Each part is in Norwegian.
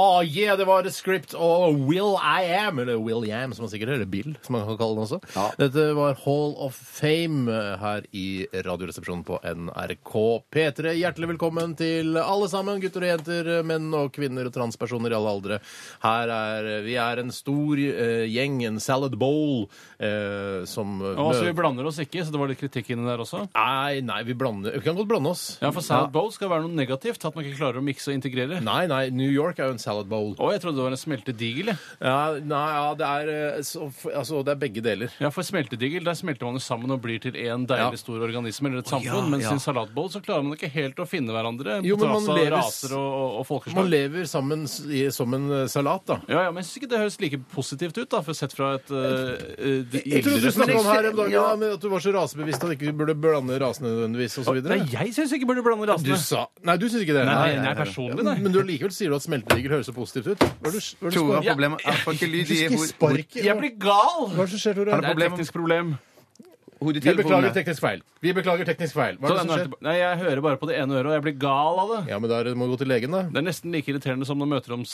oh yeah, det var The Script og Will I Am, eller Will I Am som man sikkert hører, Bill som man kan kalle den også. Dette var Hall of Fame eh, her i radioresepsjonen på NRK P3. Hjertelig velkommen til alle sammen, gutter og jenter, eh, menn og kvinner og transpersoner i alle aldre. Her er, eh, vi er en stor eh, gjeng, en salad bowl, eh, som... eh, Og altså, vi mø- blander oss ikke, så det var litt kritikk inni der også. Nei, nei, vi blander, vi kan godt blande oss. Ja, for salad bowl skal være noe negativt, at man ikke klarer å mikse og integrere. Nei, nei, New York er jo en salad bowl. Å, jeg trodde det var en smeltedigel, jeg. Ja, nei, ja det, er, eh, så, f- altså, det er begge deler. Ja, for smeltedigel, der smelter man jo sammen og blir til én deilig Ja. stor organisme eller et samfunn, ja, mens ja. i en salatbowl så klarer man ikke helt å finne hverandre Jo, på men man tross av lever s- raser og, og, og Man folkeslag. lever sammen s- i, som en eh, salat, da. Ja, ja, men jeg syns ikke det høres like positivt ut, da, for sett fra et uh, Jeg trodde du snakket om her om dagen da, men at du var så rasebevisst at du ikke burde blande rasene nødvendigvis osv. Nei, jeg syns ikke burde blande Du rasene. sa Nei, du syns ikke det? Nei, nei, nei, personlig, nei. Men du likevel sier du at smeltedigel høres så positivt ut. Hva er det du- hva er det du Tore har skår- problemer Han får ikke lyd Du i skal hod- sparke- Jeg blir gal! Hva er det som skjer, Tore? Har Det er et problem- teknisk problem. Vi beklager hodetelefonene. teknisk feil. Vi beklager teknisk feil. Hva er Så det den som er skjer? tilba- Nei, jeg hører bare på det ene øret, og jeg blir gal av det. Ja, men da er det- må du gå til legen, da. Det er nesten like irriterende som når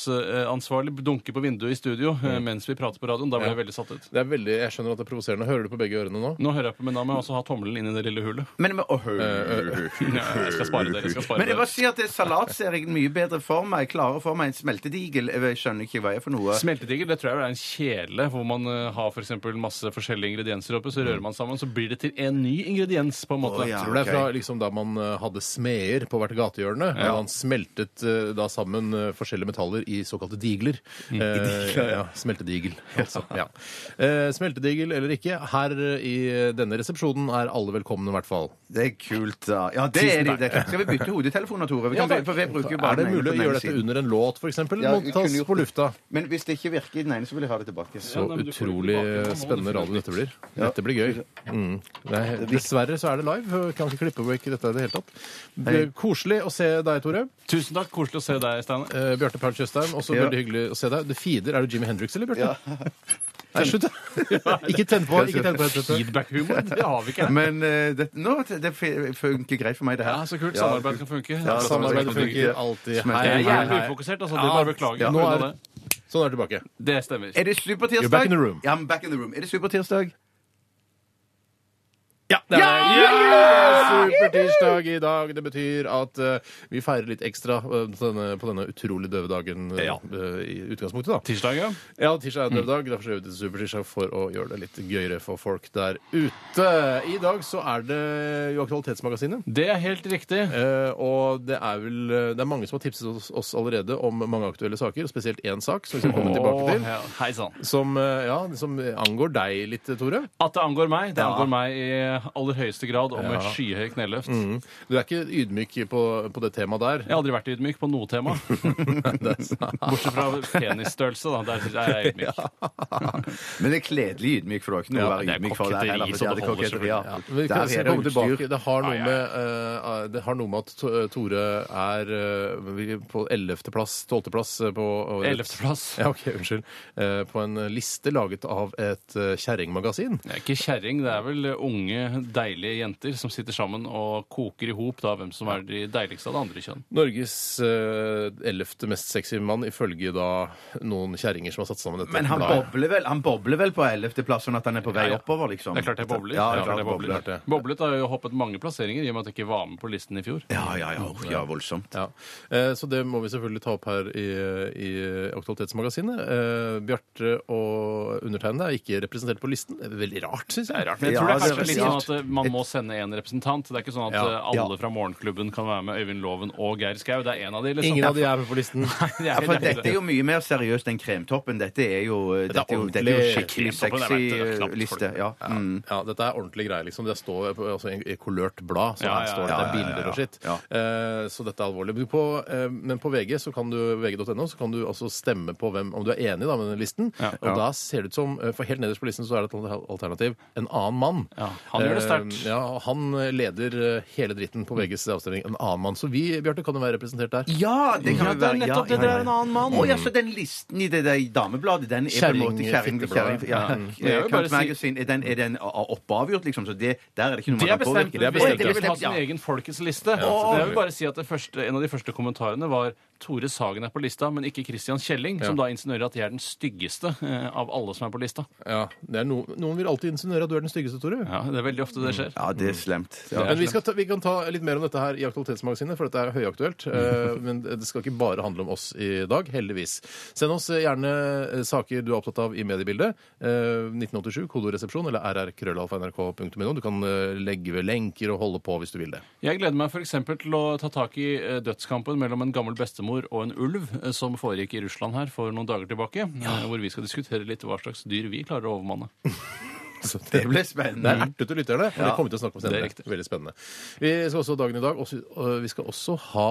møteromsansvarlig dunker på vinduet i studio eh, mens vi prater på radioen. Da ble jeg veldig satt ut. Det er veldig, jeg skjønner at det er provoserende. Hører du på begge ørene nå? Nå hører jeg på, men da må jeg også ha tommelen inn i det lille hullet. Men, men, åh, Eh, hø- Ja, jeg skal spare det. Jeg skal spare men jeg det. bare sier at det- salat ser jeg mye bedre for meg. Klarere for meg enn smeltedigel. Jeg skjønner ikke hva jeg er for noe. Smeltedigel det tror jeg er en kjele hvor man eh, har for eksempel masse forskjellige ingredienser oppi. Så rører man sammen, så blir det til en ny ingrediens. på en måte. Å, ja. tror det er ok. fra liksom, da man eh, hadde smeder på hvert gatehjørne. og Man smeltet eh, da sammen eh, forskjellige metaller i såkalte digler. Eh, ja, smeltedigel, altså. Ja. Eh, smeltedigel eller ikke, her eh, i denne resepsjonen er alle velkomne, i hvert fall. Det er kult, da. Ja, det er de. Det. Skal vi bytte hodetelefoner, Tore? Vi kan, for vi bruker jo bare Er det den ene mulig å på den ene gjøre dette siden. under en låt, f.eks.? Ja, Ja, vi Må tas kunne gjort på det. lufta. Men hvis det ikke virker i den ene, så vil jeg ha det tilbake. Så nei, men du får utrolig eh, ikke tilbake, nå må du spennende følge radio dette blir. Ja. Dette blir gøy. Mm. Nei, dessverre så er det live. Kan ikke klippe vekk dette i det hele tatt. Det- Koselig å se deg, Tore. Tusen takk. Koselig å se deg, Steinar. Eh, Bjarte Paul Tjøstheim, også Ja. veldig hyggelig å se deg. The Feeder, er du Jimmy Hendrix eller, Bjarte? Nei, slutt. ikke tenn på. ikke tenn på headsetet. Feedback-humor, det har vi ikke. Men eh, det, nå, det f- funker greit for meg, det her. Ja, Så kult. Samarbeid kan funke. Ja, Samarbeid samarbeid funker alltid. Smelter. Jeg er Hei, jævlig ufokusert, altså. Det er bare å beklage. Ja. på Nå er- grunn av det. Sånn er du tilbake. Det stemmer. Er det supertirsdag? You're back in the room. Ja, I'm back in the room. Er det supertirsdag? Ja! Det er det. Supertirsdag i dag. Det betyr at eh, vi feirer litt ekstra eh, på denne, på denne utrolig døve dagen eh, eh, i utgangspunktet, da. Mm. Tirsdag, ja. Ja, tirsdag er en døvdag. Derfor gjør vi det til supertirsdag for å gjøre det litt gøyere for folk der ute. I dag så er det jo Aktualitetsmagasinet. Det er helt riktig. Eh, og det er vel eh, Det er mange som har tipset oss, oss allerede om mange aktuelle saker, og spesielt én sak som vi skal komme tilbake til. Å, Hei sann. Som, eh, ja, som angår deg litt, Tore. At det angår meg, det angår meg i aller høyeste grad og med skyhøy kneløft. Du er ikke ydmyk på, på det temaet der. Jeg har aldri vært ydmyk på noe tema. Bortsett fra penisstørrelse, da. Der synes jeg jeg er ydmyk. Men det er kledelig ydmyk, for du har ikke noe å være det er ydmyk for der koketteri, heller. for så det det er holder koketteri, ja. Ja, men vi Der kan, skal er det komme utstyr. tilbake. Det har, noe med, eh, det har noe med at To- eh, Tore er eh, vi er på 11.-plass, 12.-plass eh, på og- Ellevteplass. Ja, ok, unnskyld. Eh, På en liste laget av et eh, kjerringmagasin. Det er ikke kjerring, det er vel unge, deilige jenter som sitter sammen og koker i hop da, hvem som er de deiligste av det andre kjønn. Norges eh, ellevte mest sexy mann, ifølge da noen kjerringer som har satt sammen dette. Men han bladet. bobler vel, han bobler vel på 11. plass, sånn at han er på vei Ja, ja. oppover, liksom? Det er klart jeg bobler. Ja, Det ja, er klart jeg bobler. klart det. Boblet har jo hoppet mange plasseringer i og med at jeg ikke var med på listen i fjor. Ja, ja, ja. Uff, ja voldsomt. Ja. Eh, Så det må vi selvfølgelig ta opp her i, i Aktualitetsmagasinet. Eh, Bjarte og undertegnede er ikke representert på listen. Det er Veldig rart, syns jeg. Men jeg tror det Ja, er kanskje det er litt vel- sånn sånn at eh, man må sende en representant. Det er ikke sånn at Ja. eh, Ja. alle fra Morgenklubben kan være med. Øyvind Loven og Geir Skau. Det er én av de, liksom. Ingen av de er med på listen. Det Ja, er for helt dette er jo mye mer seriøst enn Kremtoppen. Dette er jo, eh, dette er jo, dette er jo ordentlig- skikkelig Kremtoppen er verdt det, det er knapt sexy for liste. det. Ja. Mm. Ja, dette er ordentlig greier, liksom. Det står på- altså, i i kollørt blad, så Ja, her ja, står det, det er ja, ja, ja, bilder og ja. skitt. Eh, så dette er alvorlig. Men På, eh, men på VG så kan du, vg.no så kan du altså stemme på hvem, om du er enig da, med den listen. Og da ser det ut som, eh, for helt nederst på listen så er det et alter- alternativ, en annen mann. Ja, han gjør det sterkt. Eh, ja, han leder eh, hele dritten på VGs avstemning, en annen mann. Så vi, Bjarte, kan jo være representert der. Ja, det kan Ja, jo det er være- nettopp det, det er en annen mann. Å ja, så den listen i det der damebladet, den er på en Kjerring- måte kjerring... fittebladet. kjerring- Ja. Ja. Mm. Men jeg vil bare Cunt si- Magazine, er den, er den oppavgjort, liksom? Så det, der er det ikke noe Det er man kan bestemt. påvirke? Det er bestemt, Begge vil ha ja. sin egen folkets liste. selvfølgelig. Så jeg vil bare si at det første, En av de første kommentarene var Tore Sagen er på lista, men ikke Christian Kjelling, som da insinuerer at jeg er den styggeste eh, av alle som er på lista. Ja, det er no, noen vil alltid insinuere at du er den styggeste, Tore. Ja, Det er veldig ofte det skjer. Ja, det er slemt. Ja. Men vi, skal ta, vi kan ta litt mer om dette her i Aktualitetsmagasinet, for dette er høyaktuelt. eh, Men det skal ikke bare handle om oss i dag, heldigvis. Send oss eh, gjerne eh, saker du er opptatt av i mediebildet. Eh, 1987, kodoresepsjon eller rrkrøllalfa.nrk.no. Du kan eh, legge ved lenker og holde på hvis du vil det. Jeg gleder meg f.eks. til å ta tak i eh, dødskampen mellom en gammel bestemor og en ulv, eh, som foregikk i Russland her for noen dager tilbake. eh, Hvor vi skal diskutere litt hva slags dyr vi klarer å overmanne. Så Det blir Det spennende. er ertete lytterne, men det kommer vi til å snakke om Det er senere. riktig. Veldig spennende. Vi skal også ha dagen i dag, også, og vi skal også ha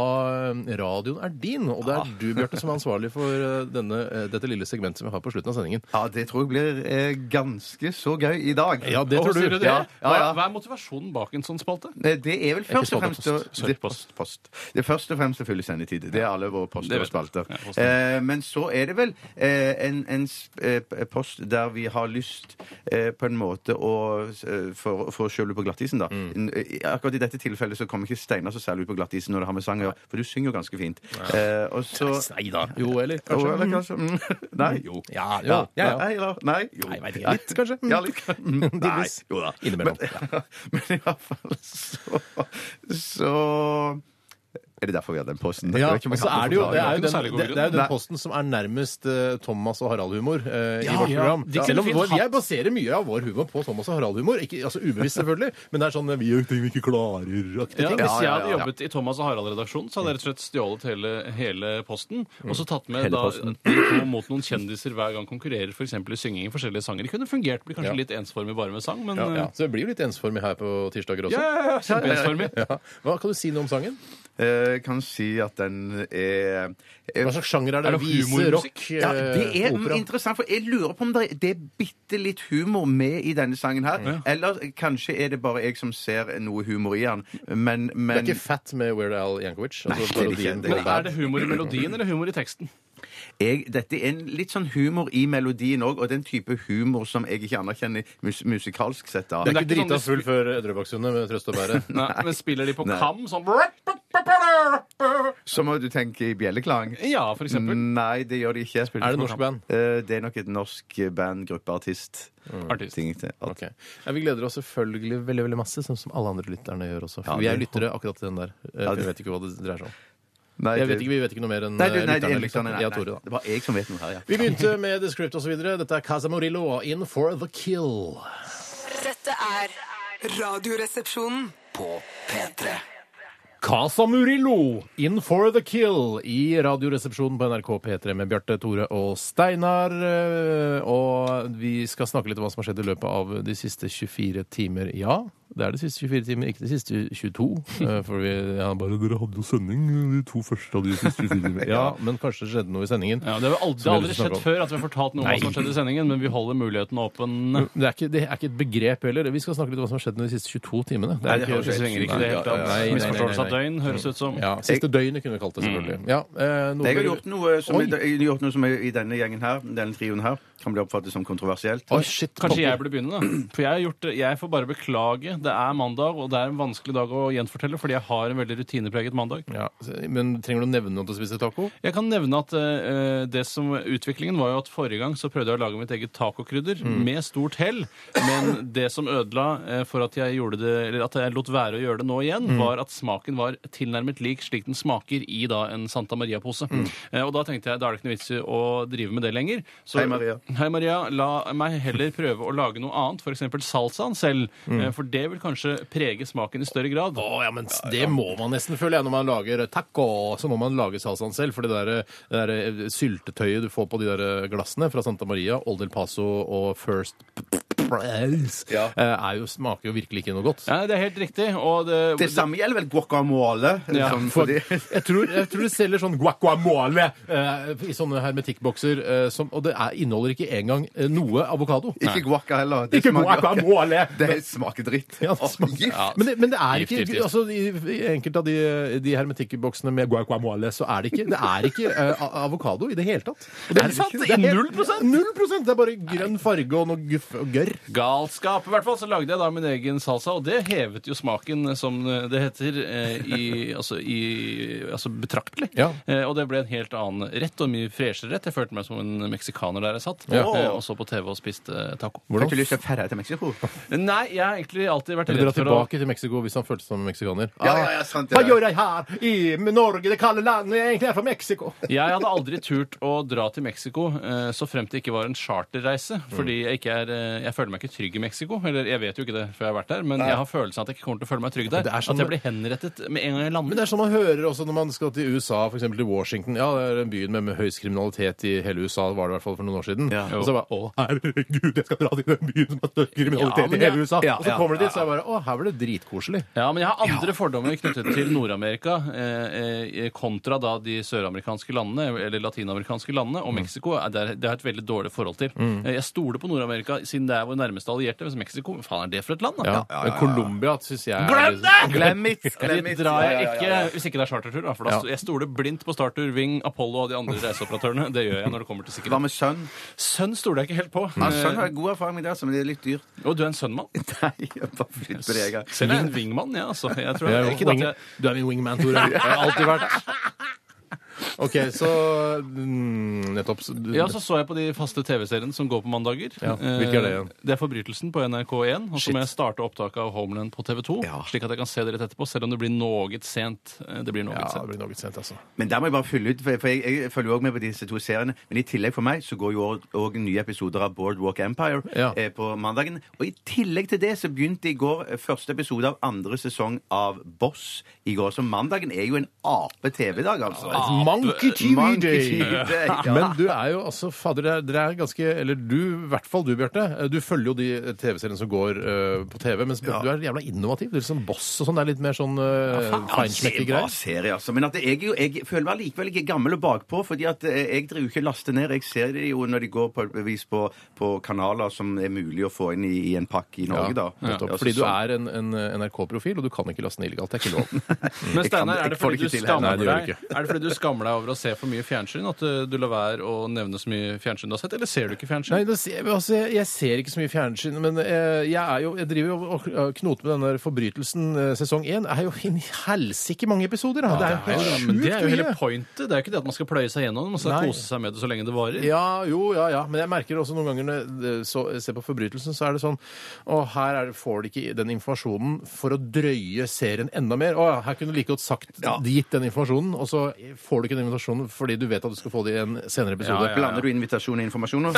eh, Radioen er din. Og det er du, Bjarte, som er ansvarlig for eh, denne, eh, dette lille segmentet som vi har på slutten av sendingen. Ja, det tror jeg blir eh, ganske så gøy i dag. Ja, det tror du. Hvorfor sier du det? Ja, ja, ja. Hva- Hva er motivasjonen bak en sånn spalte? Nei, Det er vel først og fremst spalte, post. det, er post, post. det er først og fremst å fylle sendetid. Det er alle våre Det poster vet og spalter. jeg. Ja, post. Eh, men så er det vel eh, en, en s- eh, p- post der vi har lyst eh, på en måte å eh, For, for å skjøle på glattisen, da. N- eh, Akkurat i dette tilfellet så kommer ikke Steinar så særlig ut på glattisen når det har med sang å gjøre, for du synger jo ganske fint. Eh, og så Nei da. Jo, eller Jo, kanskje? eller kanskje mm. Nei. Jo. Ja, jo. Ja, ja. Nei, eller nei. Jo. Nei, jeg vet ikke. Litt, kanskje? Ja, litt. Nei. Delvis. Jo da. Innimellom. Men, eh, men i hvert fall så Så Er det derfor vi hadde den posten? Ja, Jeg vet ikke og om jeg så kan er det jo, det er forklare. jo Ikke noe den, særlig god det, det er jo grunn. den posten som er nærmest eh, Thomas og Harald-humor eh, i Ja, vårt ja. program. De kunne Selv om fint vår, hatt- jeg baserer mye av vår humor på Thomas og Harald-humor. Ikke- Altså ubevisst, selvfølgelig, men det er sånn eh, vi gjør ting vi ikke klarer-aktige Ja, ting. hvis jeg ja, hadde ja. jobbet i Thomas og Harald-redaksjonen, så hadde jeg rett og slett stjålet hele, hele posten. Og så tatt med Mm. Hele da, posten. to mot noen kjendiser hver gang konkurrerer f.eks. i synging i forskjellige sanger. Det kunne fungert. Blir Ja. kanskje litt ensformig bare med sang, men Ja, ja. eh, Så det blir jo litt ensformig her på tirsdager ja, også. ja, ja, kjempeensformig. Ja. Hva Kan du si noe om sangen? Eh, Jeg kan si at den er Hva slags sjanger er det? Er det Vise, humormusikk? rock, ja, det eh, er opera? interessant, for jeg lurer på om det er- det er bitte litt humor med i denne sangen her. Eller kanskje er det bare jeg som ser noe humor i den. Men, Det men er ikke Fat med Weird Al Yankovic? Altså, Nei, det er det ikke. parodien Det på Men Bad. er det humor i melodien eller humor i teksten? jeg, dette er en litt sånn humor i melodien òg, og den type humor som jeg ikke anerkjenner mus musikalsk sett. da. Det er Men det ikke er ikke drita sånn- full før Drøbaksundet med Trøst og Bære. Nei. Men spiller de på Nei. kam sånn Så må du tenke i bjelleklang. Ja, for eksempel. Mm, Nei, det gjør de ikke. Er det norsk band? Eh, det er nok et norsk band, gruppe, artist. Artist. Ting til. Ok. Ja, vi gleder oss selvfølgelig veldig veldig masse, sånn som alle andre lytterne gjør også. For vi er det- lyttere akkurat til den der. Eh, for det- Jeg vet ikke hva det dreier seg om. Nei, Jeg det- vet ikke, vi vet ikke noe mer enn Nei, eh, du, nei, det er lytterne. lytterne, Liksom. nei, Jeg nei. og Tore, da. Det var jeg som vet noe her, ja. Vi begynte med The Script osv. Dette er Casa Morillo og In for the Kill. Dette er Radioresepsjonen. På P3. Casa Murillo, In for the Kill, i Radioresepsjonen på NRK P3 med Bjarte, Tore og Steinar. Eh, Og vi skal snakke litt om hva som har skjedd i løpet av de siste 24 timer. Ja, det er de siste 24 timer, ikke de siste 22. eh, For vi ja, bare dere hadde jo sending de to første av de siste 24 timer. Ja, men kanskje det skjedde noe i sendingen. Ja, det har aldri, det Som sånn har vi aldri snakker skjedd om. før at vi har fortalt noe om hva som skjedde i sendingen, men vi holder muligheten åpen. Det er, ikke, det er ikke et begrep heller. Vi skal snakke litt om hva som har skjedd de siste 22 timene. Det er Nei, det ikke- høres helt Trenger ikke det helt Nei, an. nei, nei, nei, Misforståelse av nei. døgn høres ut som. Ja, Siste døgnet kunne vi kalt det, selvfølgelig. Mm. Ja, eh, noe Jeg har dere- gjort noe som, Oi. jeg, har gjort noe som er, i denne gjengen her, denne trioen her, kan bli oppfattet som kontroversielt. Oi, shit, Kanskje Poppy. jeg burde begynne, da. For jeg, har gjort, det- jeg får bare beklage. Det er mandag, og det er en vanskelig dag å gjenfortelle, fordi jeg har en veldig rutinepreget mandag. Ja, så- men trenger du å nevne noe til å spise taco? Jeg kan nevne at eh, det som utviklingen var jo at forrige gang så prøvde jeg å lage mitt eget tacokrydder Mm. med stort hell, men det som ødela eh, for at jeg gjorde det, eller at jeg lot være å gjøre det nå igjen, Mm. var at smaken var tilnærmet lik slik den smaker i da en Santa Mm. Maria-pose. Eh, og da tenkte jeg da er det ikke noe vits i å drive med det lenger. Så- Hei, Maria. Hei Maria, la meg meg heller prøve å lage noe annet, f.eks. salsaen selv. Mm. eh, For det vil kanskje prege smaken i større grad. Å, ja, men Det må man nesten føle. ja. Når man lager taco, så må man lage salsaen selv. For det der, det der syltetøyet du får på de der eh, glassene fra Santa Maria, Old El Paso og First Price, Ja. eh, er jo, smaker jo virkelig ikke noe godt. Ja, det er helt riktig. Og det, Det samme gjelder vel guacamole. Ja, sånn, For, fordi, jeg, tror, jeg tror de selger sånn guacamole eh, i sånne hermetikkbokser, eh, som, og det er, inneholder ikke engang eh, noe avokado. ikke guaca heller. Det Ikke smaker- guacamole! Det smaker dritt. Ja, det Åh, smaker- gift. men, det, men det er Gift, ikke gift, gift. altså, i, I enkelte av de, de hermetikkboksene med guacamole, så er det ikke Det er ikke eh, a- avokado i det hele tatt. Og Er det sant? ikke- er helt- Null prosent? Null prosent! Det er bare grønn farge og noe guff og gørr. Galskap. I hvert fall så lagde jeg da min egen salsa, og det hevet jo smaken, eh, som det heter, eh, i, altså, i, altså betraktelig. Ja. Eh, Og det ble en helt annen rett, og mye freshere rett. Jeg følte meg som en meksikaner der jeg satt, Ja. eh, og så på TV og spiste eh, taco. Har ikke lyst til å ferde til Mexico? Nei, jeg har egentlig alltid vært Eller dra redd for å tilbake til Mexico hvis han følte seg som meksikaner. Ja, ja, ja, sant, Hva ja. gjør jeg her i Norge, det kalde landet? Jeg egentlig er fra Mexico. Jeg hadde aldri turt å dra til Mexico eh, så frem til det ikke var en charterreise. Mm. Fordi jeg, ikke er, eh, jeg føler meg ikke trygg i Mexico. Eller jeg vet jo ikke det før jeg har vært der, men jeg har følelsen av at jeg ikke kommer til å føle meg trygg der. det er sånn- At jeg blir henrettet med en gang jeg Men lander. det er sånn man hører også når man skal til USA, f.eks. til Washington. Ja, det er den byen med, med høyest kriminalitet i hele USA, var det i hvert fall for noen år siden. Ja. Og så bare Å, herregud, jeg skal dra til den byen som har størst Ja, kriminalitet men i det- hele USA! ja, og så ja, kommer du dit, så er det bare Å, her var det dritkoselig. Ja, men jeg har andre fordommer knyttet til Nord-Amerika eh, eh, kontra da de søramerikanske landene, eller latinamerikanske landene, Mm. og Mexico. er der- Det har jeg et veldig dårlig forhold til. Eh, Jeg stoler på Nord-Amerika siden det er vår nærmeste allierte. Mens Mexico, hva faen er det for et land, da? Ja. Men Colombia syns jeg er- liksom- Glem det! Glem it! Glem Dit it. drar jeg Ja, ja, ikke, ja, ja. hvis ikke det er chartertur. Da, for da, Ja. Jeg stoler blindt på Starter, Ving, Apollo og de andre reiseoperatørene. Det gjør jeg når det kommer til Hva sikkerhet. med sønn? Sønn stoler jeg ikke helt på. Mm. Ja, sønn har jeg god erfaring med det, altså, men det er litt dyrt. Eh, Og du er en sønnmann? Nei, jeg bare flytter det, jeg. Selv er jeg en wingmann, ja, altså. Jeg tror Jeg er jo ikke at wing- jeg... Du er min wingman, Tore. Jeg har alltid vært OK, så mm, Nettopp. så du- Ja, så så jeg på de faste TV-seriene som går på mandager. Ja, Eh, hvilke er det igjen? Det er Forbrytelsen på NRK1. Og så må jeg starte opptaket av Homeland på TV2, Ja. slik at jeg kan se det rett etterpå, selv om det blir noe sent. Eh, Det blir noe ja, det sent. blir noe sent, altså. Men der må jeg bare fylle ut, for for jeg, jeg følger jo også med på disse to seriene. Men i tillegg for meg så går jo òg nye episoder av Boardwalk Empire Ja. eh, på mandagen. Og i tillegg til det så begynte i går eh, første episode av andre sesong av Boss i går. Så mandagen er jo en ape-TV-dag, altså. Monkey TV Monkey Day! TV Day, ja. Men du er jo altså Fader, dere er- dere er ganske Eller du, i hvert fall du, Bjarte. eh, Du følger jo de TV-seriene som går eh, på TV, mens du er jævla innovativ. Du er litt sånn boss og sånn. Det er litt mer sånn uh, altså, feinschmecker Bra greier. serie, altså. Men at jeg, jo, jeg føler meg likevel ikke gammel og bakpå, fordi at eh, jeg driver jo ikke og laster ned. Jeg ser det jo når de går på, vis på, på kanaler som er mulig å få inn i, i en pakke i Norge, da. nettopp. Ja, så Fordi du sånn. er en, en eh, NRK-profil, og du kan ikke laste ned illegalt. Det er ikke lov. Men Jeg kan- Steinar, er, jeg det får det fordi ikke du til heller. skammer Nei, det gjør deg- det er det fordi du skammer deg over å se for mye fjernsyn? At eh, du lar være å nevne så mye fjernsyn du har sett? Eller ser du ikke Nei, fjernsyn? det, ser- altså, jeg- jeg ser ikke så mye fjernsyn, men eh, jeg, er jo, jeg driver jo og og knoter med den der forbrytelsen eh, sesong én. Det er jo en helsike mange episoder! Da. det er jo helt men det er jo sjukt hele mye! pointet. Det er jo ikke det at man skal pløye seg gjennom. Man skal Nei. kose seg med det så lenge det varer. Ja, jo, ja, ja. Men jeg merker også noen ganger når jeg eh, så, ser på Forbrytelsen, så er det sånn Å, her er det, får de ikke den informasjonen for å drøye serien enda mer. Å, her kunne du like godt sagt gitt den informasjonen, og så får du ikke den informasjonen fordi du vet at du skal få det i en senere episode. Ja, ja, Blander du invitasjon og informasjon nå?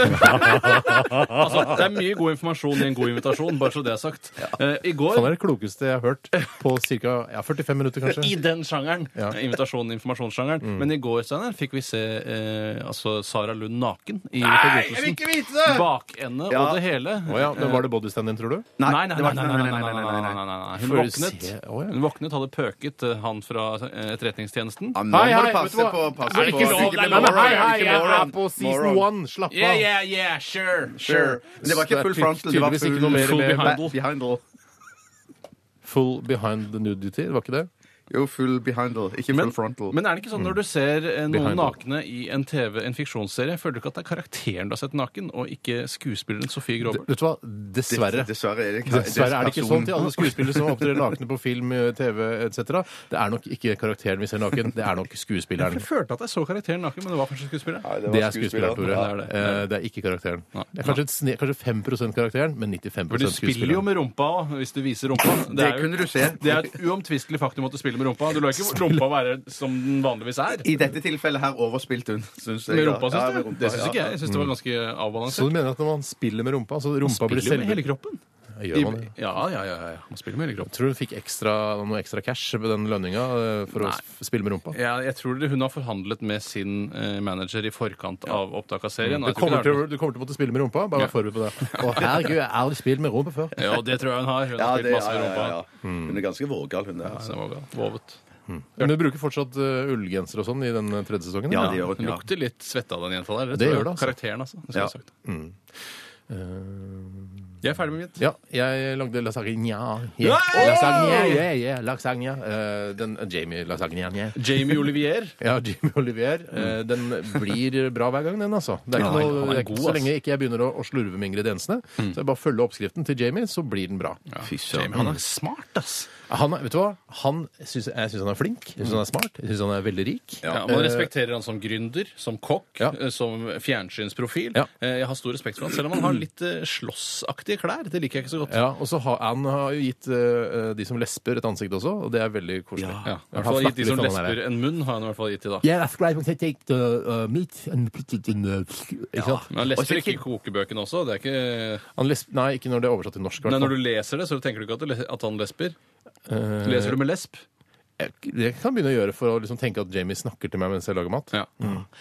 Altså, det er mye god informasjon i en god invitasjon, bare så det er sagt. Eh, I går Sånn er det klokeste jeg har hørt på ca. Ja, 45 minutter, I kanskje. den sjangeren. Ja. Invitasjon- informasjonssjangeren. Men i går Steiner, fikk vi se eh, altså Sara Lund naken i Forbrytelsen. ikke vite det! Bakende Ja. og det hele. Å ja, men Var det bodystanden din, tror du? Nei, nei, nei, det nei, var- nei, nei, nei, nei, nei, nei, nei. Hun Får vi våknet. se? Å, ja. Hun våknet, hadde pøket eh, han fra eh, etterretningstjenesten. Ja, nå Hei, hei, må du passe vet du på. hva? Passe Er det på. ikke lov? Ikke Det er moron, lov. Hei, hei, ikke jeg er moron. på season Moron. one! Slapp av! Yeah, yeah, yeah, sure, Sure. Men det Så var ikke det er full frontal. Det var tydeligvis ikke noe mer full med- ba- behind all. Full behind the nudity, det var ikke det? Jo, full behind all. Ikke full frontal. Men er det ikke sånn når du ser eh, noen Behind nakne i en TV, en fiksjonsserie, føler du ikke at det er karakteren du har sett naken, og ikke skuespilleren Sofie Gråbøl? Vet du hva? Dessverre. Dessverre er det ikke, Dessverre er det ikke sånn til alle personen. skuespillere som opptrer nakne på film, eh, TV etc. Det er nok ikke karakteren vi ser naken, det er nok skuespilleren. Jeg følte at jeg så karakteren naken, men det var kanskje skuespilleren. Nei, Det er skuespilleren, Tore. Ja, det er det. Eh, Det er ikke karakteren. Nei. Det er kanskje, et sne- kanskje 5 karakteren, men 95 For du spiller Altså, skuespilleren. jo med rumpa òg, hvis du viser rumpa. Det er jo- kunne du se. Det er et uomtvistelig faktum at du spiller med rumpa. Du lar ikke rumpa være som den vanligvis er. I dette tilfellet her overspilte hun, syns jeg. Med ja. rumpa, Ja, syns med du? rumpa, Det syns ja. ikke jeg. Jeg syns det var ganske Så avbalansert. du mener at når man spiller med rumpa, så rumpa blir Spiller jo med selve hele kroppen. Gjør man det? Ja, ja, ja. ja. Man spiller med hele kroppen. Tror du hun fikk ekstra, noe ekstra cash på den lønninga eh, for Nei. å s- spille med rumpa? Ja, jeg tror hun har forhandlet med sin eh, manager i forkant av opptak av serien. Du Jeg Mm. tror ikke kommer, det til, er du kommer til å måtte spille med rumpa. Bare vær forberedt på det. Å, herregud, jeg har aldri spilt med rumpa før. noe- Ja, det tror jeg hun har. Hun Ja, har det, spilt ja, masse med ja, ja, rumpa. ja. Mm. Hun er ganske vågal, hun der. Altså. Så det var bra. Vovet. Men du bruker fortsatt eh, ullgenser og sånn i den eh, tredje sesongen? Ja, det Hun gjør hun. Ja. lukter litt svette av den jenta der. Det tror gjør jeg. det, altså. Karakteren, altså. Det skulle Ja. jeg sagt. Jeg er ferdig med mitt. Ja, jeg lagde lasagna. Wow! Yeah. Lasagna, yeah, yeah, lasagna. Eh, den Jamie lasagna. Yeah. Jamie Olivier. Ja, Jimmy Olivier. Eh, den blir bra hver gang, den, altså. Det er Ja, ikke han er- noe, han det er er ikke, god, så ass. lenge ikke jeg begynner å, å slurve med ingrediensene, så jeg bare følger oppskriften til Jamie, så blir den bra. Fy Jamie, søren. han er smart, ass. Han, er- vet du hva? Han syns, jeg syns han er flink, jeg syns han er smart, jeg syns han er veldig rik. Eh, Ja, man respekterer han som gründer, som kokk, Ja. eh, som fjernsynsprofil. Ja. Eh, Jeg har stor respekt for han, selv om han har litt eh, slåssaktige klær. Det liker jeg ikke så godt. Ja, og så har han har jo gitt eh, de som lesber, et ansikt også, og det er veldig koselig. Ja, I hvert fall gitt de sånn som lesber en munn, har han i hvert fall gitt til da. Yeah, that's great. We can take the uh, meat and put it in the... eh, Ikke sant? Men han Og så leste ikke- ikke kokebøkene også. Det er ikke... Han lesb... Nei, ikke når det er oversatt til norsk. i hvert Nei, fall. når du leser det, så tenker du ikke at, det, les- at han lesber. Eh. Leser du med lesb? Eh, Jeg- Det kan jeg begynne å gjøre for å liksom tenke at Jamie snakker til meg mens jeg lager mat. Ja.